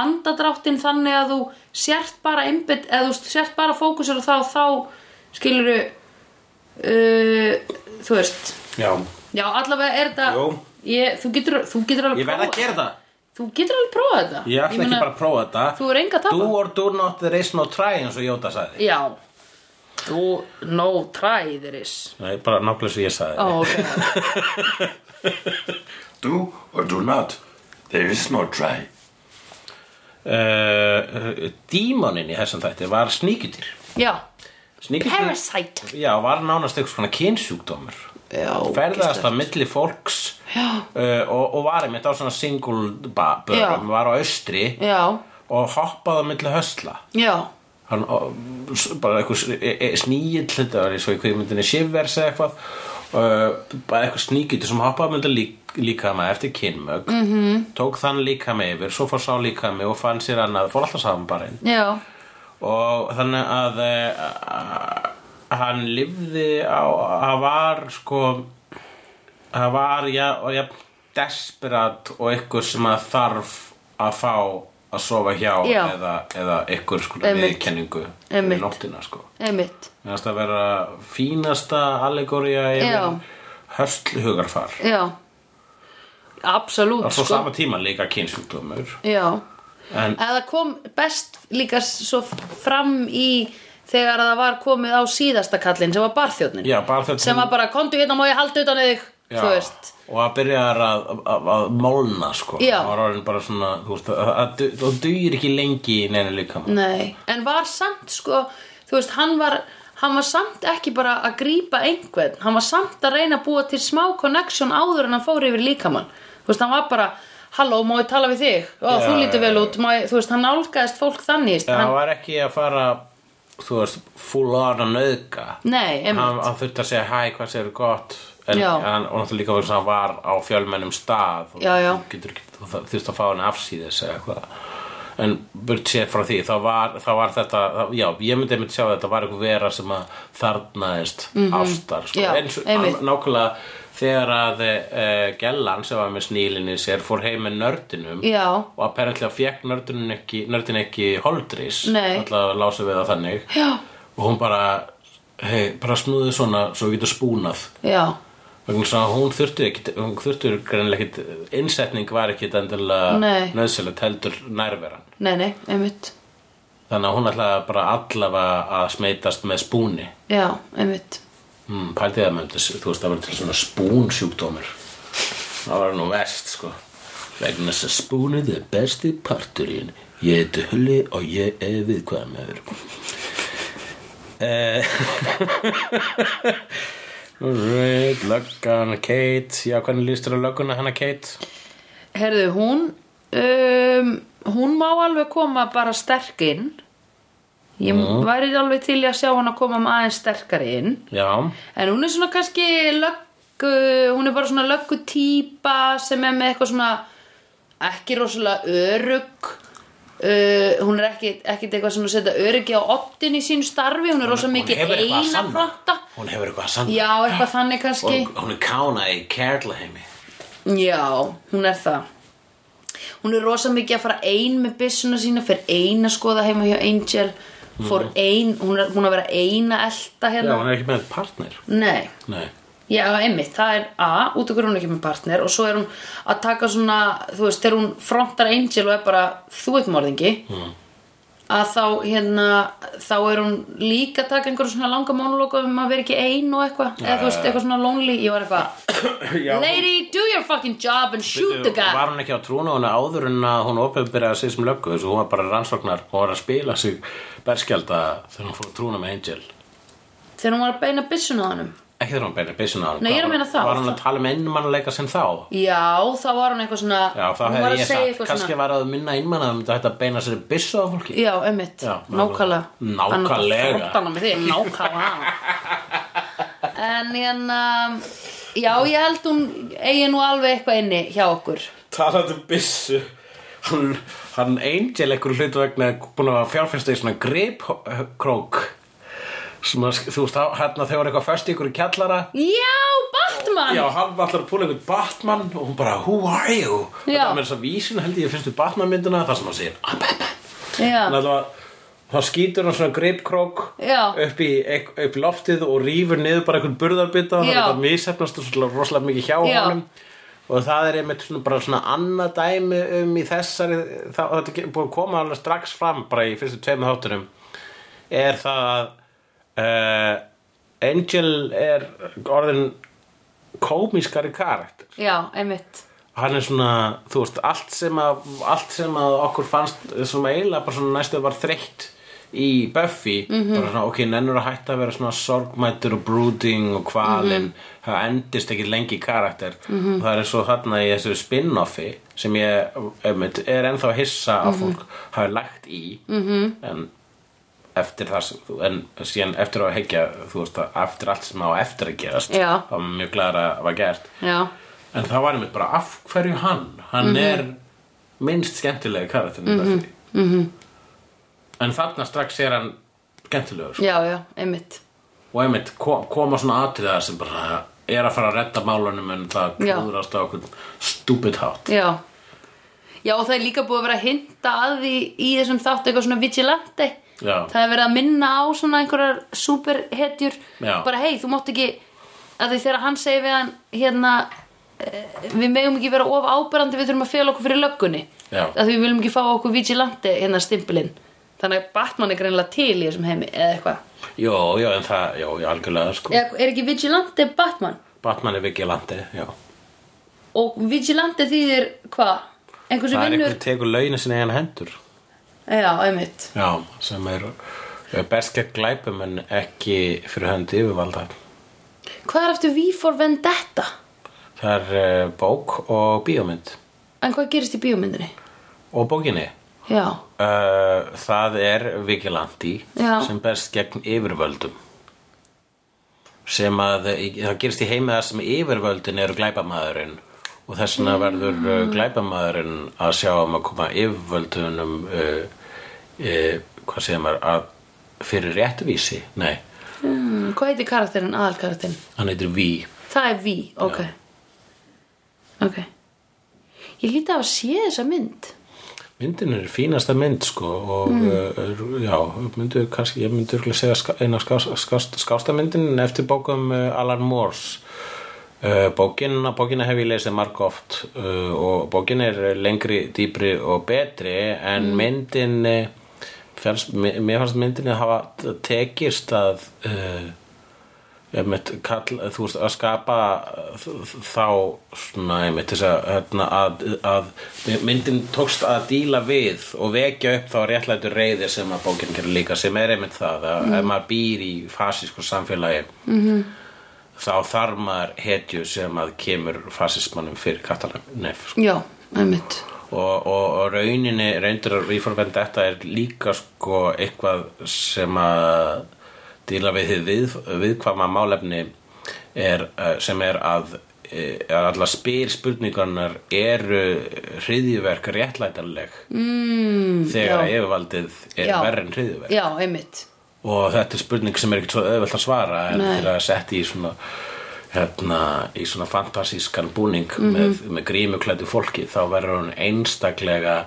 Speaker 1: Andadráttinn þannig að þú Sért bara einbytt Eða þú veist, sért bara fókusur og þá Þá skilur uh, Þú veist
Speaker 2: já,
Speaker 1: Já, allavega er þetta
Speaker 2: Jú.
Speaker 1: ég, þú, getur, þú getur alveg
Speaker 2: ég verð að
Speaker 1: prófað-
Speaker 2: gera það
Speaker 1: Þú getur alveg prófað þetta
Speaker 2: Ég ætla ekki
Speaker 1: meina,
Speaker 2: bara að prófa þetta
Speaker 1: Þú er enga að tapa.
Speaker 2: Do or do not, there is no try eins og Jóta sagði
Speaker 1: Já Þú, no try there is
Speaker 2: Nei, bara nákvæmlega svo ég sagði
Speaker 1: Ó, ok
Speaker 2: Do or do not, there is no try uh, dímonin í þessum þætti var sníkjudýr
Speaker 1: *laughs* Já,
Speaker 2: Sníkjudýr
Speaker 1: Parasite
Speaker 2: Já, var nánast einhvers konar kynsjúkdómur
Speaker 1: Já, ógeðslegt.
Speaker 2: ferðast að milli fólks
Speaker 1: Já.
Speaker 2: uh, og, og var einmitt á svona single ba- börum,
Speaker 1: Já.
Speaker 2: var á austri
Speaker 1: Já,
Speaker 2: og hoppaði á milli hösla
Speaker 1: já,
Speaker 2: hann og, s- bara einhver s- e- e- snígill þetta var eins og í kvikmyndinni Shivers eða eitthvað uh, bara einhver snígill sem hoppaði á milli lík, líkama eftir kynmög -hmm. tók þann líkama yfir svo fór sá líkami og fann sér annað fór alltaf saman bara einn
Speaker 1: já
Speaker 2: og þannig að uh, hann lifði á, hann var sko hann var ja, og ja, desperat og ykkur sem að þarf að fá að sofa hjá
Speaker 1: Já.
Speaker 2: eða, eða ykkur sko
Speaker 1: Einmitt.
Speaker 2: viðkenningu
Speaker 1: Einmitt.
Speaker 2: yfir nóttina sko
Speaker 1: Einmitt,
Speaker 2: Mér finnst það að vera fínasta allegória
Speaker 1: Já.
Speaker 2: yfir höstl hugarfar
Speaker 1: já
Speaker 2: og
Speaker 1: Absolutt,
Speaker 2: svo
Speaker 1: sko
Speaker 2: sama tíma líka kynsjúkdómur
Speaker 1: Já,
Speaker 2: en
Speaker 1: að það kom best líka svo fram í þegar það var komið á síðasta kallinn sem var barþjóðnin
Speaker 2: já, bara þetta
Speaker 1: sem var bara, komdu hérna má ég halda utan í þig
Speaker 2: Já,
Speaker 1: þú veist,
Speaker 2: og að byrjar að, að, að málna sko
Speaker 1: Já.
Speaker 2: Það var orðin bara svona þú veist, að, að, þú dugir ekki lengi í neina líka
Speaker 1: nei en var samt sko, þú veist hann var, hann var samt ekki bara að grípa einhvern, hann var samt að reyna að búa til smá connection áður en hann fór yfir líkamann, þú veist, hann var bara halló, má ég tala við þig, ó,
Speaker 2: Já,
Speaker 1: þú lítur vel
Speaker 2: já,
Speaker 1: út má ég, þú veist, hann nálgaðist fólk þannig
Speaker 2: það
Speaker 1: hann,
Speaker 2: var ekki að fara þú veist, full on að nauðka
Speaker 1: nei, einmitt,
Speaker 2: hann, hann þurfti að segja hæ, hvað séu gott en
Speaker 1: Já.
Speaker 2: hann, og náttúrulega líka verið hann var á fjölmennum stað og
Speaker 1: Já, já.
Speaker 2: þú getur ekki, þú þar- þurft að fá hann afsíðis eða eitthvað en burt séð frá því, þá var, þá var þetta þá- já, ég myndi einmitt sjá að þetta var eitthvað vera sem að þarnaðist ástar, sko,
Speaker 1: Mhm. Já,
Speaker 2: eins og
Speaker 1: einmitt.
Speaker 2: hann- nákvæmlega þegar að uh, Gellan sem var með snílinni sér fór heim með nördinum
Speaker 1: Já.
Speaker 2: og apparentlega fekk nördin ekki, nördin ekki holdrís,
Speaker 1: Nei.
Speaker 2: alltaf lásu við það þannig
Speaker 1: Já.
Speaker 2: og hún bara hei, bara snúðu svona svo við getum spúnað
Speaker 1: já
Speaker 2: vegna þess að hún þurfti ekki hún þurfti greinlega ekki innsetning var ekki endilega
Speaker 1: Nei.
Speaker 2: nöðsilegt heldur nærveran
Speaker 1: nei, nei, einmitt
Speaker 2: þannig að hún ætlaði bara allavega að smeitast með spúni
Speaker 1: Já, einmitt
Speaker 2: mm, pældi það með þessu, þú veist það var til svona spúnsjúkdómur það var nú verst sko vegna þess að spúnið er besti parturinn ég heiti Hulli og ég er viðkvæmur Eh, *laughs* Right, löggan Kate Já, hvernig lístur á lögguna hana Kate?
Speaker 1: Herðu, hún um, hún má alveg koma bara sterk inn Ég væri alveg til í að sjá hann að koma með aðeins sterkari inn
Speaker 2: Já,
Speaker 1: En hún er svona kannski löggu, hún er bara svona löggu típa sem er með eitthvað svona ekki rosalega örugg Uh, hún er ekkit, ekkit eitthvað svona að setja öryggi á optin í sínu starfi hún er rosa
Speaker 2: hún
Speaker 1: mikið
Speaker 2: hefur eitthvað að
Speaker 1: eina
Speaker 2: sanna
Speaker 1: flotta
Speaker 2: Hún hefur eitthvað að sanna
Speaker 1: já, eitthvað þannig kannski
Speaker 2: Hún, hún er kána í kærla heimi
Speaker 1: Já, hún er það Hún er rosa mikið að fara ein með byssuna sína fyrir ein að skoða heima hjá Angel fór ein, hún er hún er að vera ein að elta
Speaker 2: Já,
Speaker 1: hérna
Speaker 2: hún er ekki með partner
Speaker 1: Nei,
Speaker 2: Nei
Speaker 1: já, einmitt, það er A út okkur hún er ekki með partner og svo er hún að taka svona, þú veist, þegar hún frontar Angel og er bara, þú ert morðingi
Speaker 2: Hmm.
Speaker 1: að þá hérna, þá er hún líka að taka einhverjum svona langa monologa um að vera ekki ein og eitthvað, eða þú veist, eitthvað svona lonely, ég var
Speaker 2: Já,
Speaker 1: eitthvað
Speaker 2: hún-
Speaker 1: Lady, do your fucking job and shoot the guy
Speaker 2: Var hún ekki á trúna hún áður en að hún opinbyrjaði sig sem löggu þessu, hún var bara rannsóknar og var að spila sig berskjálta þegar hún fór að trúna með Angel
Speaker 1: Þegar hún var að beina byssun á hannum
Speaker 2: Ekki þegar hún beinir byssun á hann
Speaker 1: Nei, ég er að meina það.
Speaker 2: Var hún að tala með einmannleika sem þá?
Speaker 1: Já, þá var hún eitthvað svona
Speaker 2: Já, þá
Speaker 1: hún var
Speaker 2: hefði
Speaker 1: að segja
Speaker 2: ég sagt,
Speaker 1: eitthvað
Speaker 2: kannski var að minna einmann að þetta hætti að beina sér byssu á fólki
Speaker 1: Já, emmitt,
Speaker 2: Já,
Speaker 1: nákvæmlega
Speaker 2: nákvæmlega.
Speaker 1: Hann er bara frontana með þig, nákvæmlega En hérna Já, ég held hún eigi nú alveg eitthvað inni hjá okkur
Speaker 2: talandi um byssu hann, hann Angel einhverju hlutu vegna er búinn að fjárfesta í svona gripkrók sem að, þú veist, þá- hérna þau voru eitthvað föst í einhverju kjallara
Speaker 1: Já, Batman
Speaker 2: Já, hann var alltaf að púla einhvern Batman og hún bara, who are you? Þetta
Speaker 1: Já.
Speaker 2: var með þess að vísin held ég fyrstu Batman myndina þar sem hann segir, I'm Batman
Speaker 1: Já,
Speaker 2: Þannig að það- þá skýtur hann svona gripkrók
Speaker 1: Já.
Speaker 2: upp í, ek- upp í loftið og rýfur niður bara einhvern burðarbita þannig
Speaker 1: Já.
Speaker 2: að það misefnast svona rosalega mikið hjá
Speaker 1: Já.
Speaker 2: honum og það er einmitt svona bara svona annað dæmi um í þessari það, og þetta er búið að koma alveg strax fram bara í fyrstu tveimur þáttunum er það að uh, Angel er orðin komískari karakter
Speaker 1: já, emmitt
Speaker 2: hann er svona, þú veist, allt sem að, allt sem að okkur fannst sem að eiginlega bara svona næstu var þreytt í Buffy, bara svona, ok, nennur að hætta að vera svona sorgmættur og brooding og kvalinn, það endist ekki lengi í karakter, og það er svo þarna í þessu spin-offi sem ég einmitt, er ennþá að hissa að fólk hafi lagt í -hmm. en eftir það sem þú, en síðan eftir á að hekja, þú veist, að eftir allt sem á eftir að gerast,
Speaker 1: Já.
Speaker 2: það var mjög glæður að var gert
Speaker 1: já,
Speaker 2: En það var einmitt bara af hverju hann Hann
Speaker 1: Mhm.
Speaker 2: er minnst skemmtilegi karakterin mm -hmm. mm
Speaker 1: mhm.
Speaker 2: -hmm. En þarna strax er hann skemmtilegur sko.
Speaker 1: já, já, einmitt
Speaker 2: Og einmitt ko- koma svona atriðar sem bara er að fara að redda málunum en það
Speaker 1: Já.
Speaker 2: klúðrast á okkur stúpid hátt
Speaker 1: Já Já og það er líka búið að vera að hinta að því í þessum þáttu eitthvað svona vigilante
Speaker 2: Já.
Speaker 1: Það er verið að minna á svona einhverjar superhetjur
Speaker 2: Já.
Speaker 1: Bara hei, þú mátt ekki að því þegar hann segir við hann hérna eh, Við megum ekki vera of áberandi, við þurfum að fela okkur fyrir löggunni
Speaker 2: Já.
Speaker 1: Að því við viljum ekki fá okkur vigilante hérna stimpilinn Þannig að Batman er greinlega til í þessum heimi eða eitthvað
Speaker 2: Jó, já, en það, já, já, algjörlega sko.
Speaker 1: Eða Er ekki vigilante Batman?
Speaker 2: Batman er vigilandi, já
Speaker 1: Og vigilante þýðir hvað? Einhver sem
Speaker 2: Það er
Speaker 1: vinnur
Speaker 2: einhver tekur launinu sinni eigin hendur
Speaker 1: Já, einmitt
Speaker 2: Já, sem er er best gegn glæpum en ekki fyrir hönd yfirvalda
Speaker 1: Hvað er aftur V for Vendetta?
Speaker 2: Það er uh, bók og bíómynd
Speaker 1: En hvað gerist í bíómyndinni?
Speaker 2: og bókinni
Speaker 1: Já,
Speaker 2: Uh, það er Vigilante
Speaker 1: Já.
Speaker 2: sem berst gegn yfirvöldum sem að það gerist í heimi þar sem yfirvöldin eru glæpamaðurinn og þess vegna verður uh, glæpamaðurinn að sjá um að koma yfirvöldunum uh, uh, hvað segir maður að fyrir réttvísi, nei
Speaker 1: mm, hvað heitir karakterinn, aðalkarakterinn?
Speaker 2: hann heitir Ví
Speaker 1: Það er V, ok Ok Ég líti að hafa séð þessa mynd
Speaker 2: myndin er fínasta mynd sko og mm. já, myndu kannski, ég myndi örugglega segja ska- eina skásta skást, skásta myndin eftir bókum uh, Alan Moore's uh, bókina, bókina hef ég lesið marg oft uh, og bókin er lengri, dýpri og betri en myndin eh, fannst, mér mér fannst myndin að hafa t- tekist að uh, einmitt, kall, þú veist, að skapa uh, þ- þá svona, einmitt, þess að, hérna, að, að myndin tókst að díla við og vekja upp þá réttlætu reyði sem að bókin gerir líka, sem er einmitt það að ef maður býr í fasísku samfélagi -hmm. þá þarf maður hetju sem að kemur fasismannum fyrir katalan nef, sko
Speaker 1: Já, einmitt
Speaker 2: og, og, og rauninni reyndur að Reefer Vendetta er líka sko eitthvað sem að díla við hið við, viðkvæma málefni er, eh, sem er að eh, að allar spyr spurningarnar eru hryðjuverk réttlætanleg mm, þegar
Speaker 1: já.
Speaker 2: yfirvaldið er
Speaker 1: Já.
Speaker 2: verri en hryðjuverk
Speaker 1: Hmm, Já, einmitt
Speaker 2: og þetta er spurning sem er ekkert svo auðvelt að svara en
Speaker 1: Nei.
Speaker 2: þegar það er sett í svona hérna, í svona fantasískan búning með, með grímuklætu fólki þá verður hún einstaklega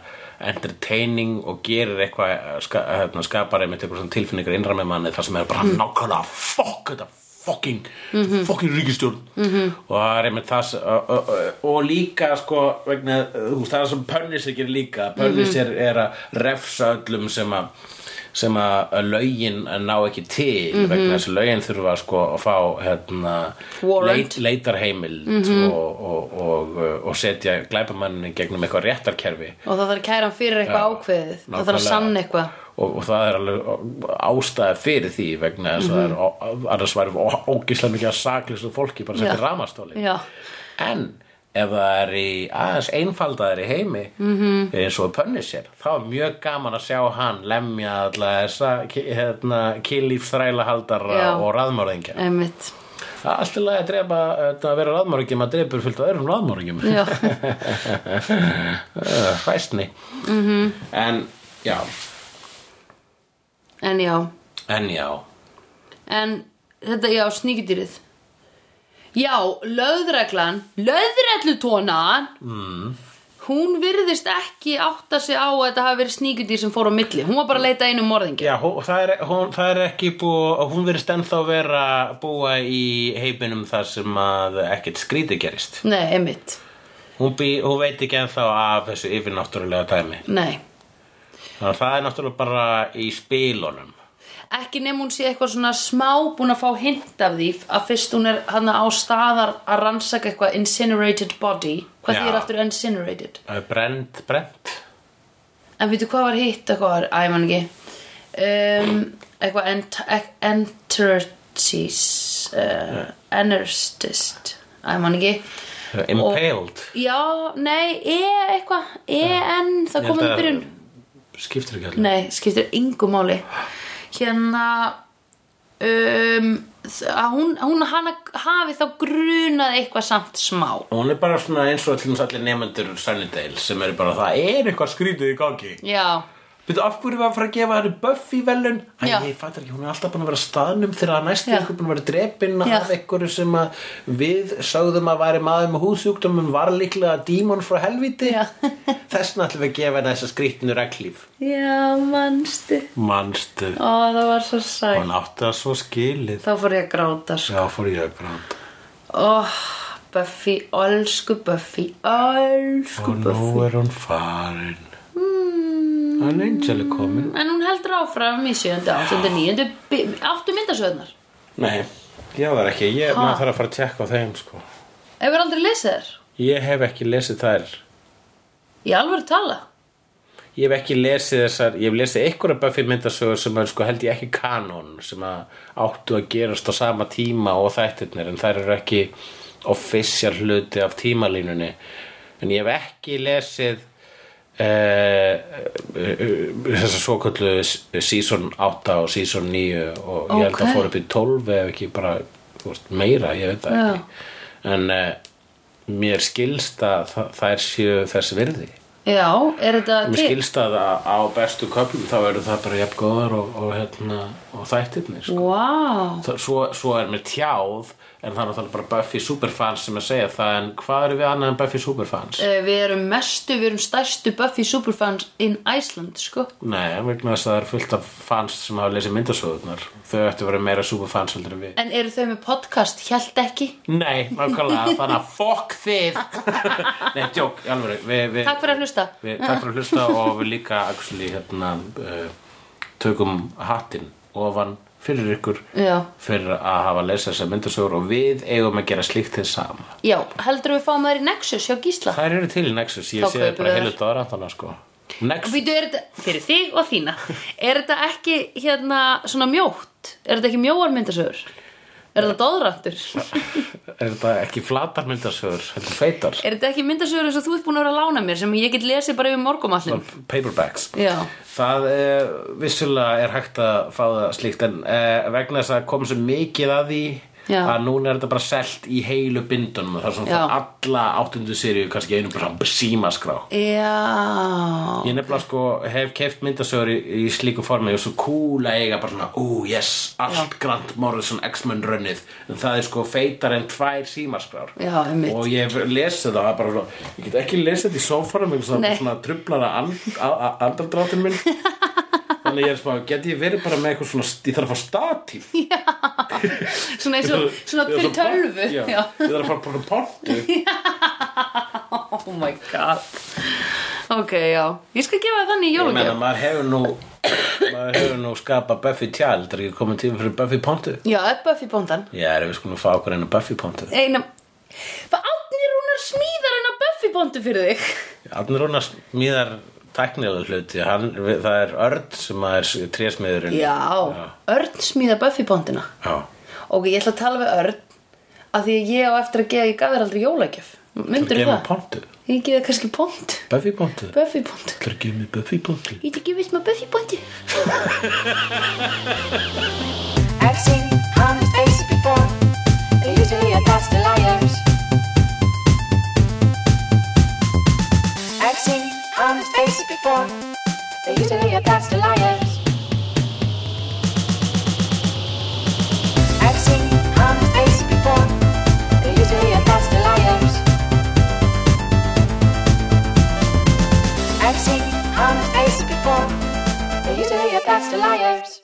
Speaker 2: entertaining og gerir eitthvað ska, hérna, skapar einmitt eitthvað svona tilfinningar innra með manni þar sem er bara nákvæmlega fuck þetta fucking, fucking ríkistjórn og það er einmitt það sem- og, og, og- og líka sko vegna, þú veist, það er sem Punisher gerir líka Punisher er að refsa öllum sem að sem að að lögin ná ekki til vegna þess að lögin þurfa sko að fá hérna,
Speaker 1: Mhm. Warrant. Mhm.
Speaker 2: leitarheimild og, og, og, og setja glæpamannin gegnum eitthvað réttarkerfi
Speaker 1: Og það þarf að kæra hann fyrir eitthvað ákveðið Það þarf að
Speaker 2: nákvæmlega.
Speaker 1: sanna eitthvað
Speaker 2: og, og það er alveg ástæða fyrir því vegna þess að
Speaker 1: Mhm.
Speaker 2: það er ó- annars væri ó- ógeðslega mikið að saklis og fólki bara
Speaker 1: Já.
Speaker 2: setja ramastóli
Speaker 1: Já.
Speaker 2: en ef það er í aðeins einfaldaðir í heimi -hmm. eins og Punisher þá er mjög gaman að sjá hann lemja alla þessa ki- hérna, kynlíf þrælahaldara
Speaker 1: Já.
Speaker 2: og raðmörðingja
Speaker 1: Einmitt
Speaker 2: Það er Allt í lagi að drepa, þetta að vera raðmörðingjum að drepur fullt af öðrum raðmörðingjum
Speaker 1: Já,
Speaker 2: Hræstni mm -hmm. En já,
Speaker 1: en já
Speaker 2: en já
Speaker 1: En þetta, já, sníkudýrið Já, löðreglan Löðreglutónan mm. Hún virðist ekki átta sig á að þetta hafi verið sníkudýr sem fór á milli Hún var bara að leita einu morðingi
Speaker 2: Já, hó- það er, hún, það er ekki búa, hún verist ennþá vera búa í heiminum þar sem að ekkert skríti gerist.
Speaker 1: Nei, einmitt,
Speaker 2: Hún, bý, hún veit ekki ennþá af þessu yfirnáttúrulega dæmi.
Speaker 1: nei
Speaker 2: Þannig að það er náttúrulega bara í spilunum.
Speaker 1: ekki nefn hún sé eitthvað svona smá búin að fá hint af því að fyrst hún er hann á staðar að rannsaka eitthvað incinerated body hvað
Speaker 2: Já.
Speaker 1: því er aftur incinerated
Speaker 2: Það er brent, brent
Speaker 1: en veitu hvað var hitt eitthvað var, æ, mann ekki um, eitthvað ent entertis uh, enerstist æ, mann ekki
Speaker 2: Impaled
Speaker 1: já, nei, e eitthvað en, það
Speaker 2: Ég held
Speaker 1: komið í
Speaker 2: að-
Speaker 1: byrjun
Speaker 2: Skiptir ekki allir
Speaker 1: Nei, skiptir yngu máli Hérna um, þ- að hún, hún hana, hafi þá grunað eitthvað samt smá
Speaker 2: Hún er bara svona eins og allir, allir nefnendur Sunnydale sem eru bara það er eitthvað skrítið í gangi
Speaker 1: Já,
Speaker 2: Býttu, af hverju var að fara að gefa henni Buffy velun? Æ,
Speaker 1: Já.
Speaker 2: ég fattar ekki, hún er alltaf búin að vera á staðnum þegar að næstu
Speaker 1: Já.
Speaker 2: ykkur búin að vera drepin
Speaker 1: Já.
Speaker 2: af einhverju sem að við sögðum að væri maður með húðsjúkdómum var líklega dímon frá helviti
Speaker 1: Já.
Speaker 2: Þessna ætlum við að gefa henni þessa skrítinu reglíf
Speaker 1: já, manstu
Speaker 2: Manstu,
Speaker 1: Ó, það var svo sætt
Speaker 2: hún átti það svo skilið
Speaker 1: Þá fór ég að gráta sko.
Speaker 2: Já, fór ég að gráta
Speaker 1: Ó, Buffy, elsku Buffy Elsku
Speaker 2: Og nú
Speaker 1: Buffy
Speaker 2: er hún farin mm. En Angel er komin
Speaker 1: En hún heldur áfram í 7. 8. 9. 8 myndasöðnar
Speaker 2: Nei, ég var ekki, ég,
Speaker 1: Ha?
Speaker 2: maður þarf að fara að tekka á þeim sko
Speaker 1: Hefur aldrei lesið þér?
Speaker 2: Ég hef ekki lesið þær
Speaker 1: Í alvöru tala
Speaker 2: Ég hef ekki lesið þessar, ég hef lesið einhverja Buffy myndasögur sem er sko held ég ekki kanon sem að áttu að gerast á sama tíma og þættirnir en þær eru ekki offisjál hluti af tímalínunni en ég hef ekki lesið uh, þessar svo kallu season 8 og season 9 og ég held
Speaker 1: Ókei.
Speaker 2: að fór upp í 12 ef ekki bara þú veist, meira, ég veit það
Speaker 1: Já.
Speaker 2: ekki en uh, mér skilst að þa- þær séu þess virði
Speaker 1: Já, er þetta
Speaker 2: Mér skilst að að á bestu köflum þá eru það bara jafn góðar og, og, hérna, og þættirnir
Speaker 1: Vá
Speaker 2: sko.
Speaker 1: wow.
Speaker 2: Það- svo, svo er mér tjáð en það er náttúrulega bara Buffy Superfans sem er að segja það en hvað eru við annað en Buffy Superfans?
Speaker 1: Eh, Við erum mestu, við erum stærstu Buffy superfans in Iceland, sko.
Speaker 2: Nei, vegna þess að það er fullt af fans sem hafa lesið myndasöðunar þau ættu að vera meira superfans heldur en við
Speaker 1: En eru þau með podcast? Hjælt ekki?
Speaker 2: Nei,
Speaker 1: *laughs*
Speaker 2: nákvæmlega, þannig að fokk þið *laughs* Nei, djók, í alvöru við, við,
Speaker 1: Takk fyrir að hlusta.
Speaker 2: við, Takk fyrir að hlusta og við líka actually, hérna, uh, tökum hattinn ofan fyrir ykkur
Speaker 1: Já.
Speaker 2: fyrir að hafa lesið þessar myndasögur og við eigum að gera slíkt þið sama
Speaker 1: Já, heldur við fáum þær í Nexus hjá Gísla?
Speaker 2: Þær eru til í Nexus, ég
Speaker 1: Þá
Speaker 2: sé það
Speaker 1: kaupirðu
Speaker 2: bara
Speaker 1: þær.
Speaker 2: heilut aðrandana sko Nexus,
Speaker 1: Býtu, er þetta, fyrir þig og þína, er þetta ekki hérna svona mjótt? Er þetta ekki mjóar myndasögur? Er þetta doðrantur?
Speaker 2: er þetta ekki flatar myndasögur, heldur feitar
Speaker 1: Er þetta ekki myndasögur eins og þú ert búin að vera að lána mér sem ég get lesið bara yfir morgumallin?
Speaker 2: paperbacks
Speaker 1: Já.
Speaker 2: Það eh, vissulega er hægt að fá það slíkt en eh, vegna þess að kom svo mikið að því
Speaker 1: Já.
Speaker 2: að núna er þetta bara selt í heilu bindunum og það er svona
Speaker 1: Já.
Speaker 2: það alla áttundu seríu kannski í einu bara símaskrá
Speaker 1: Já.
Speaker 2: Ég nefnilega sko hef keift myndasögur í, í slíku formi og svo cool að eiga bara svona Ú, yes, allt Grant Morrison X-Men runnið En það er sko feitar en tvær símaskrár
Speaker 1: Já, einmitt.
Speaker 2: Og ég hef lesið það, það er bara svona Ég get ekki lesið þetta í sófanum vegna þess að
Speaker 1: Nei.
Speaker 2: það svona trublar að and- a- a- andardráttin
Speaker 1: *laughs*
Speaker 2: minn Þannig ég er svona, get ég verið bara með eitthvað svona Ég þarf að fá statíf
Speaker 1: Svona eins og, svona
Speaker 2: Ég
Speaker 1: fyrir
Speaker 2: þarf að fá-
Speaker 1: tölvu.
Speaker 2: Já,
Speaker 1: Já.
Speaker 2: ég þarf að fara bara
Speaker 1: *laughs*
Speaker 2: portu
Speaker 1: Oh my god Ok, já Ég skal gefa þér þannig í
Speaker 2: Ég meina,
Speaker 1: jólagjöf
Speaker 2: maður hefur nú Maður hefur nú skapað Buffy tjald Það er ekki komið tíma fyrir Buffy pontu
Speaker 1: Já, Ebba fyrir bóndan
Speaker 2: Já, erum við skulum að fá okkur einu Buffy pontu
Speaker 1: Eina Hvað átnir hún er smíðar en að Buffy bóndu fyrir þig?
Speaker 2: Arnur Rúnar smíðar tæknilega hluti hann, við, Það er örd sem að er trésmiðurinn
Speaker 1: Já, Örn smíða Buffy bóndina
Speaker 2: Já.
Speaker 1: Ok, ég ætla að tala við Örn að Því að ég á eftir að gefa, ég gaf þér aldrei jólagjöf
Speaker 2: Þú
Speaker 1: Myndur
Speaker 2: gefur
Speaker 1: þú
Speaker 2: mér
Speaker 1: það?
Speaker 2: pontu
Speaker 1: Ég gefa kannski bónd
Speaker 2: Buffy pontu
Speaker 1: Buffy bónd
Speaker 2: Það er gefur mér Buffy pontu
Speaker 1: Ég ætla að gefa þér Buffy bóndi
Speaker 3: I've seen honest faces before. They're usually a pass to liars. I've seen honest faces before. They're usually a pass to liars. I've seen honest faces before. They're usually a pass to liars. I've seen honest faces before. They're usually a pass to liars.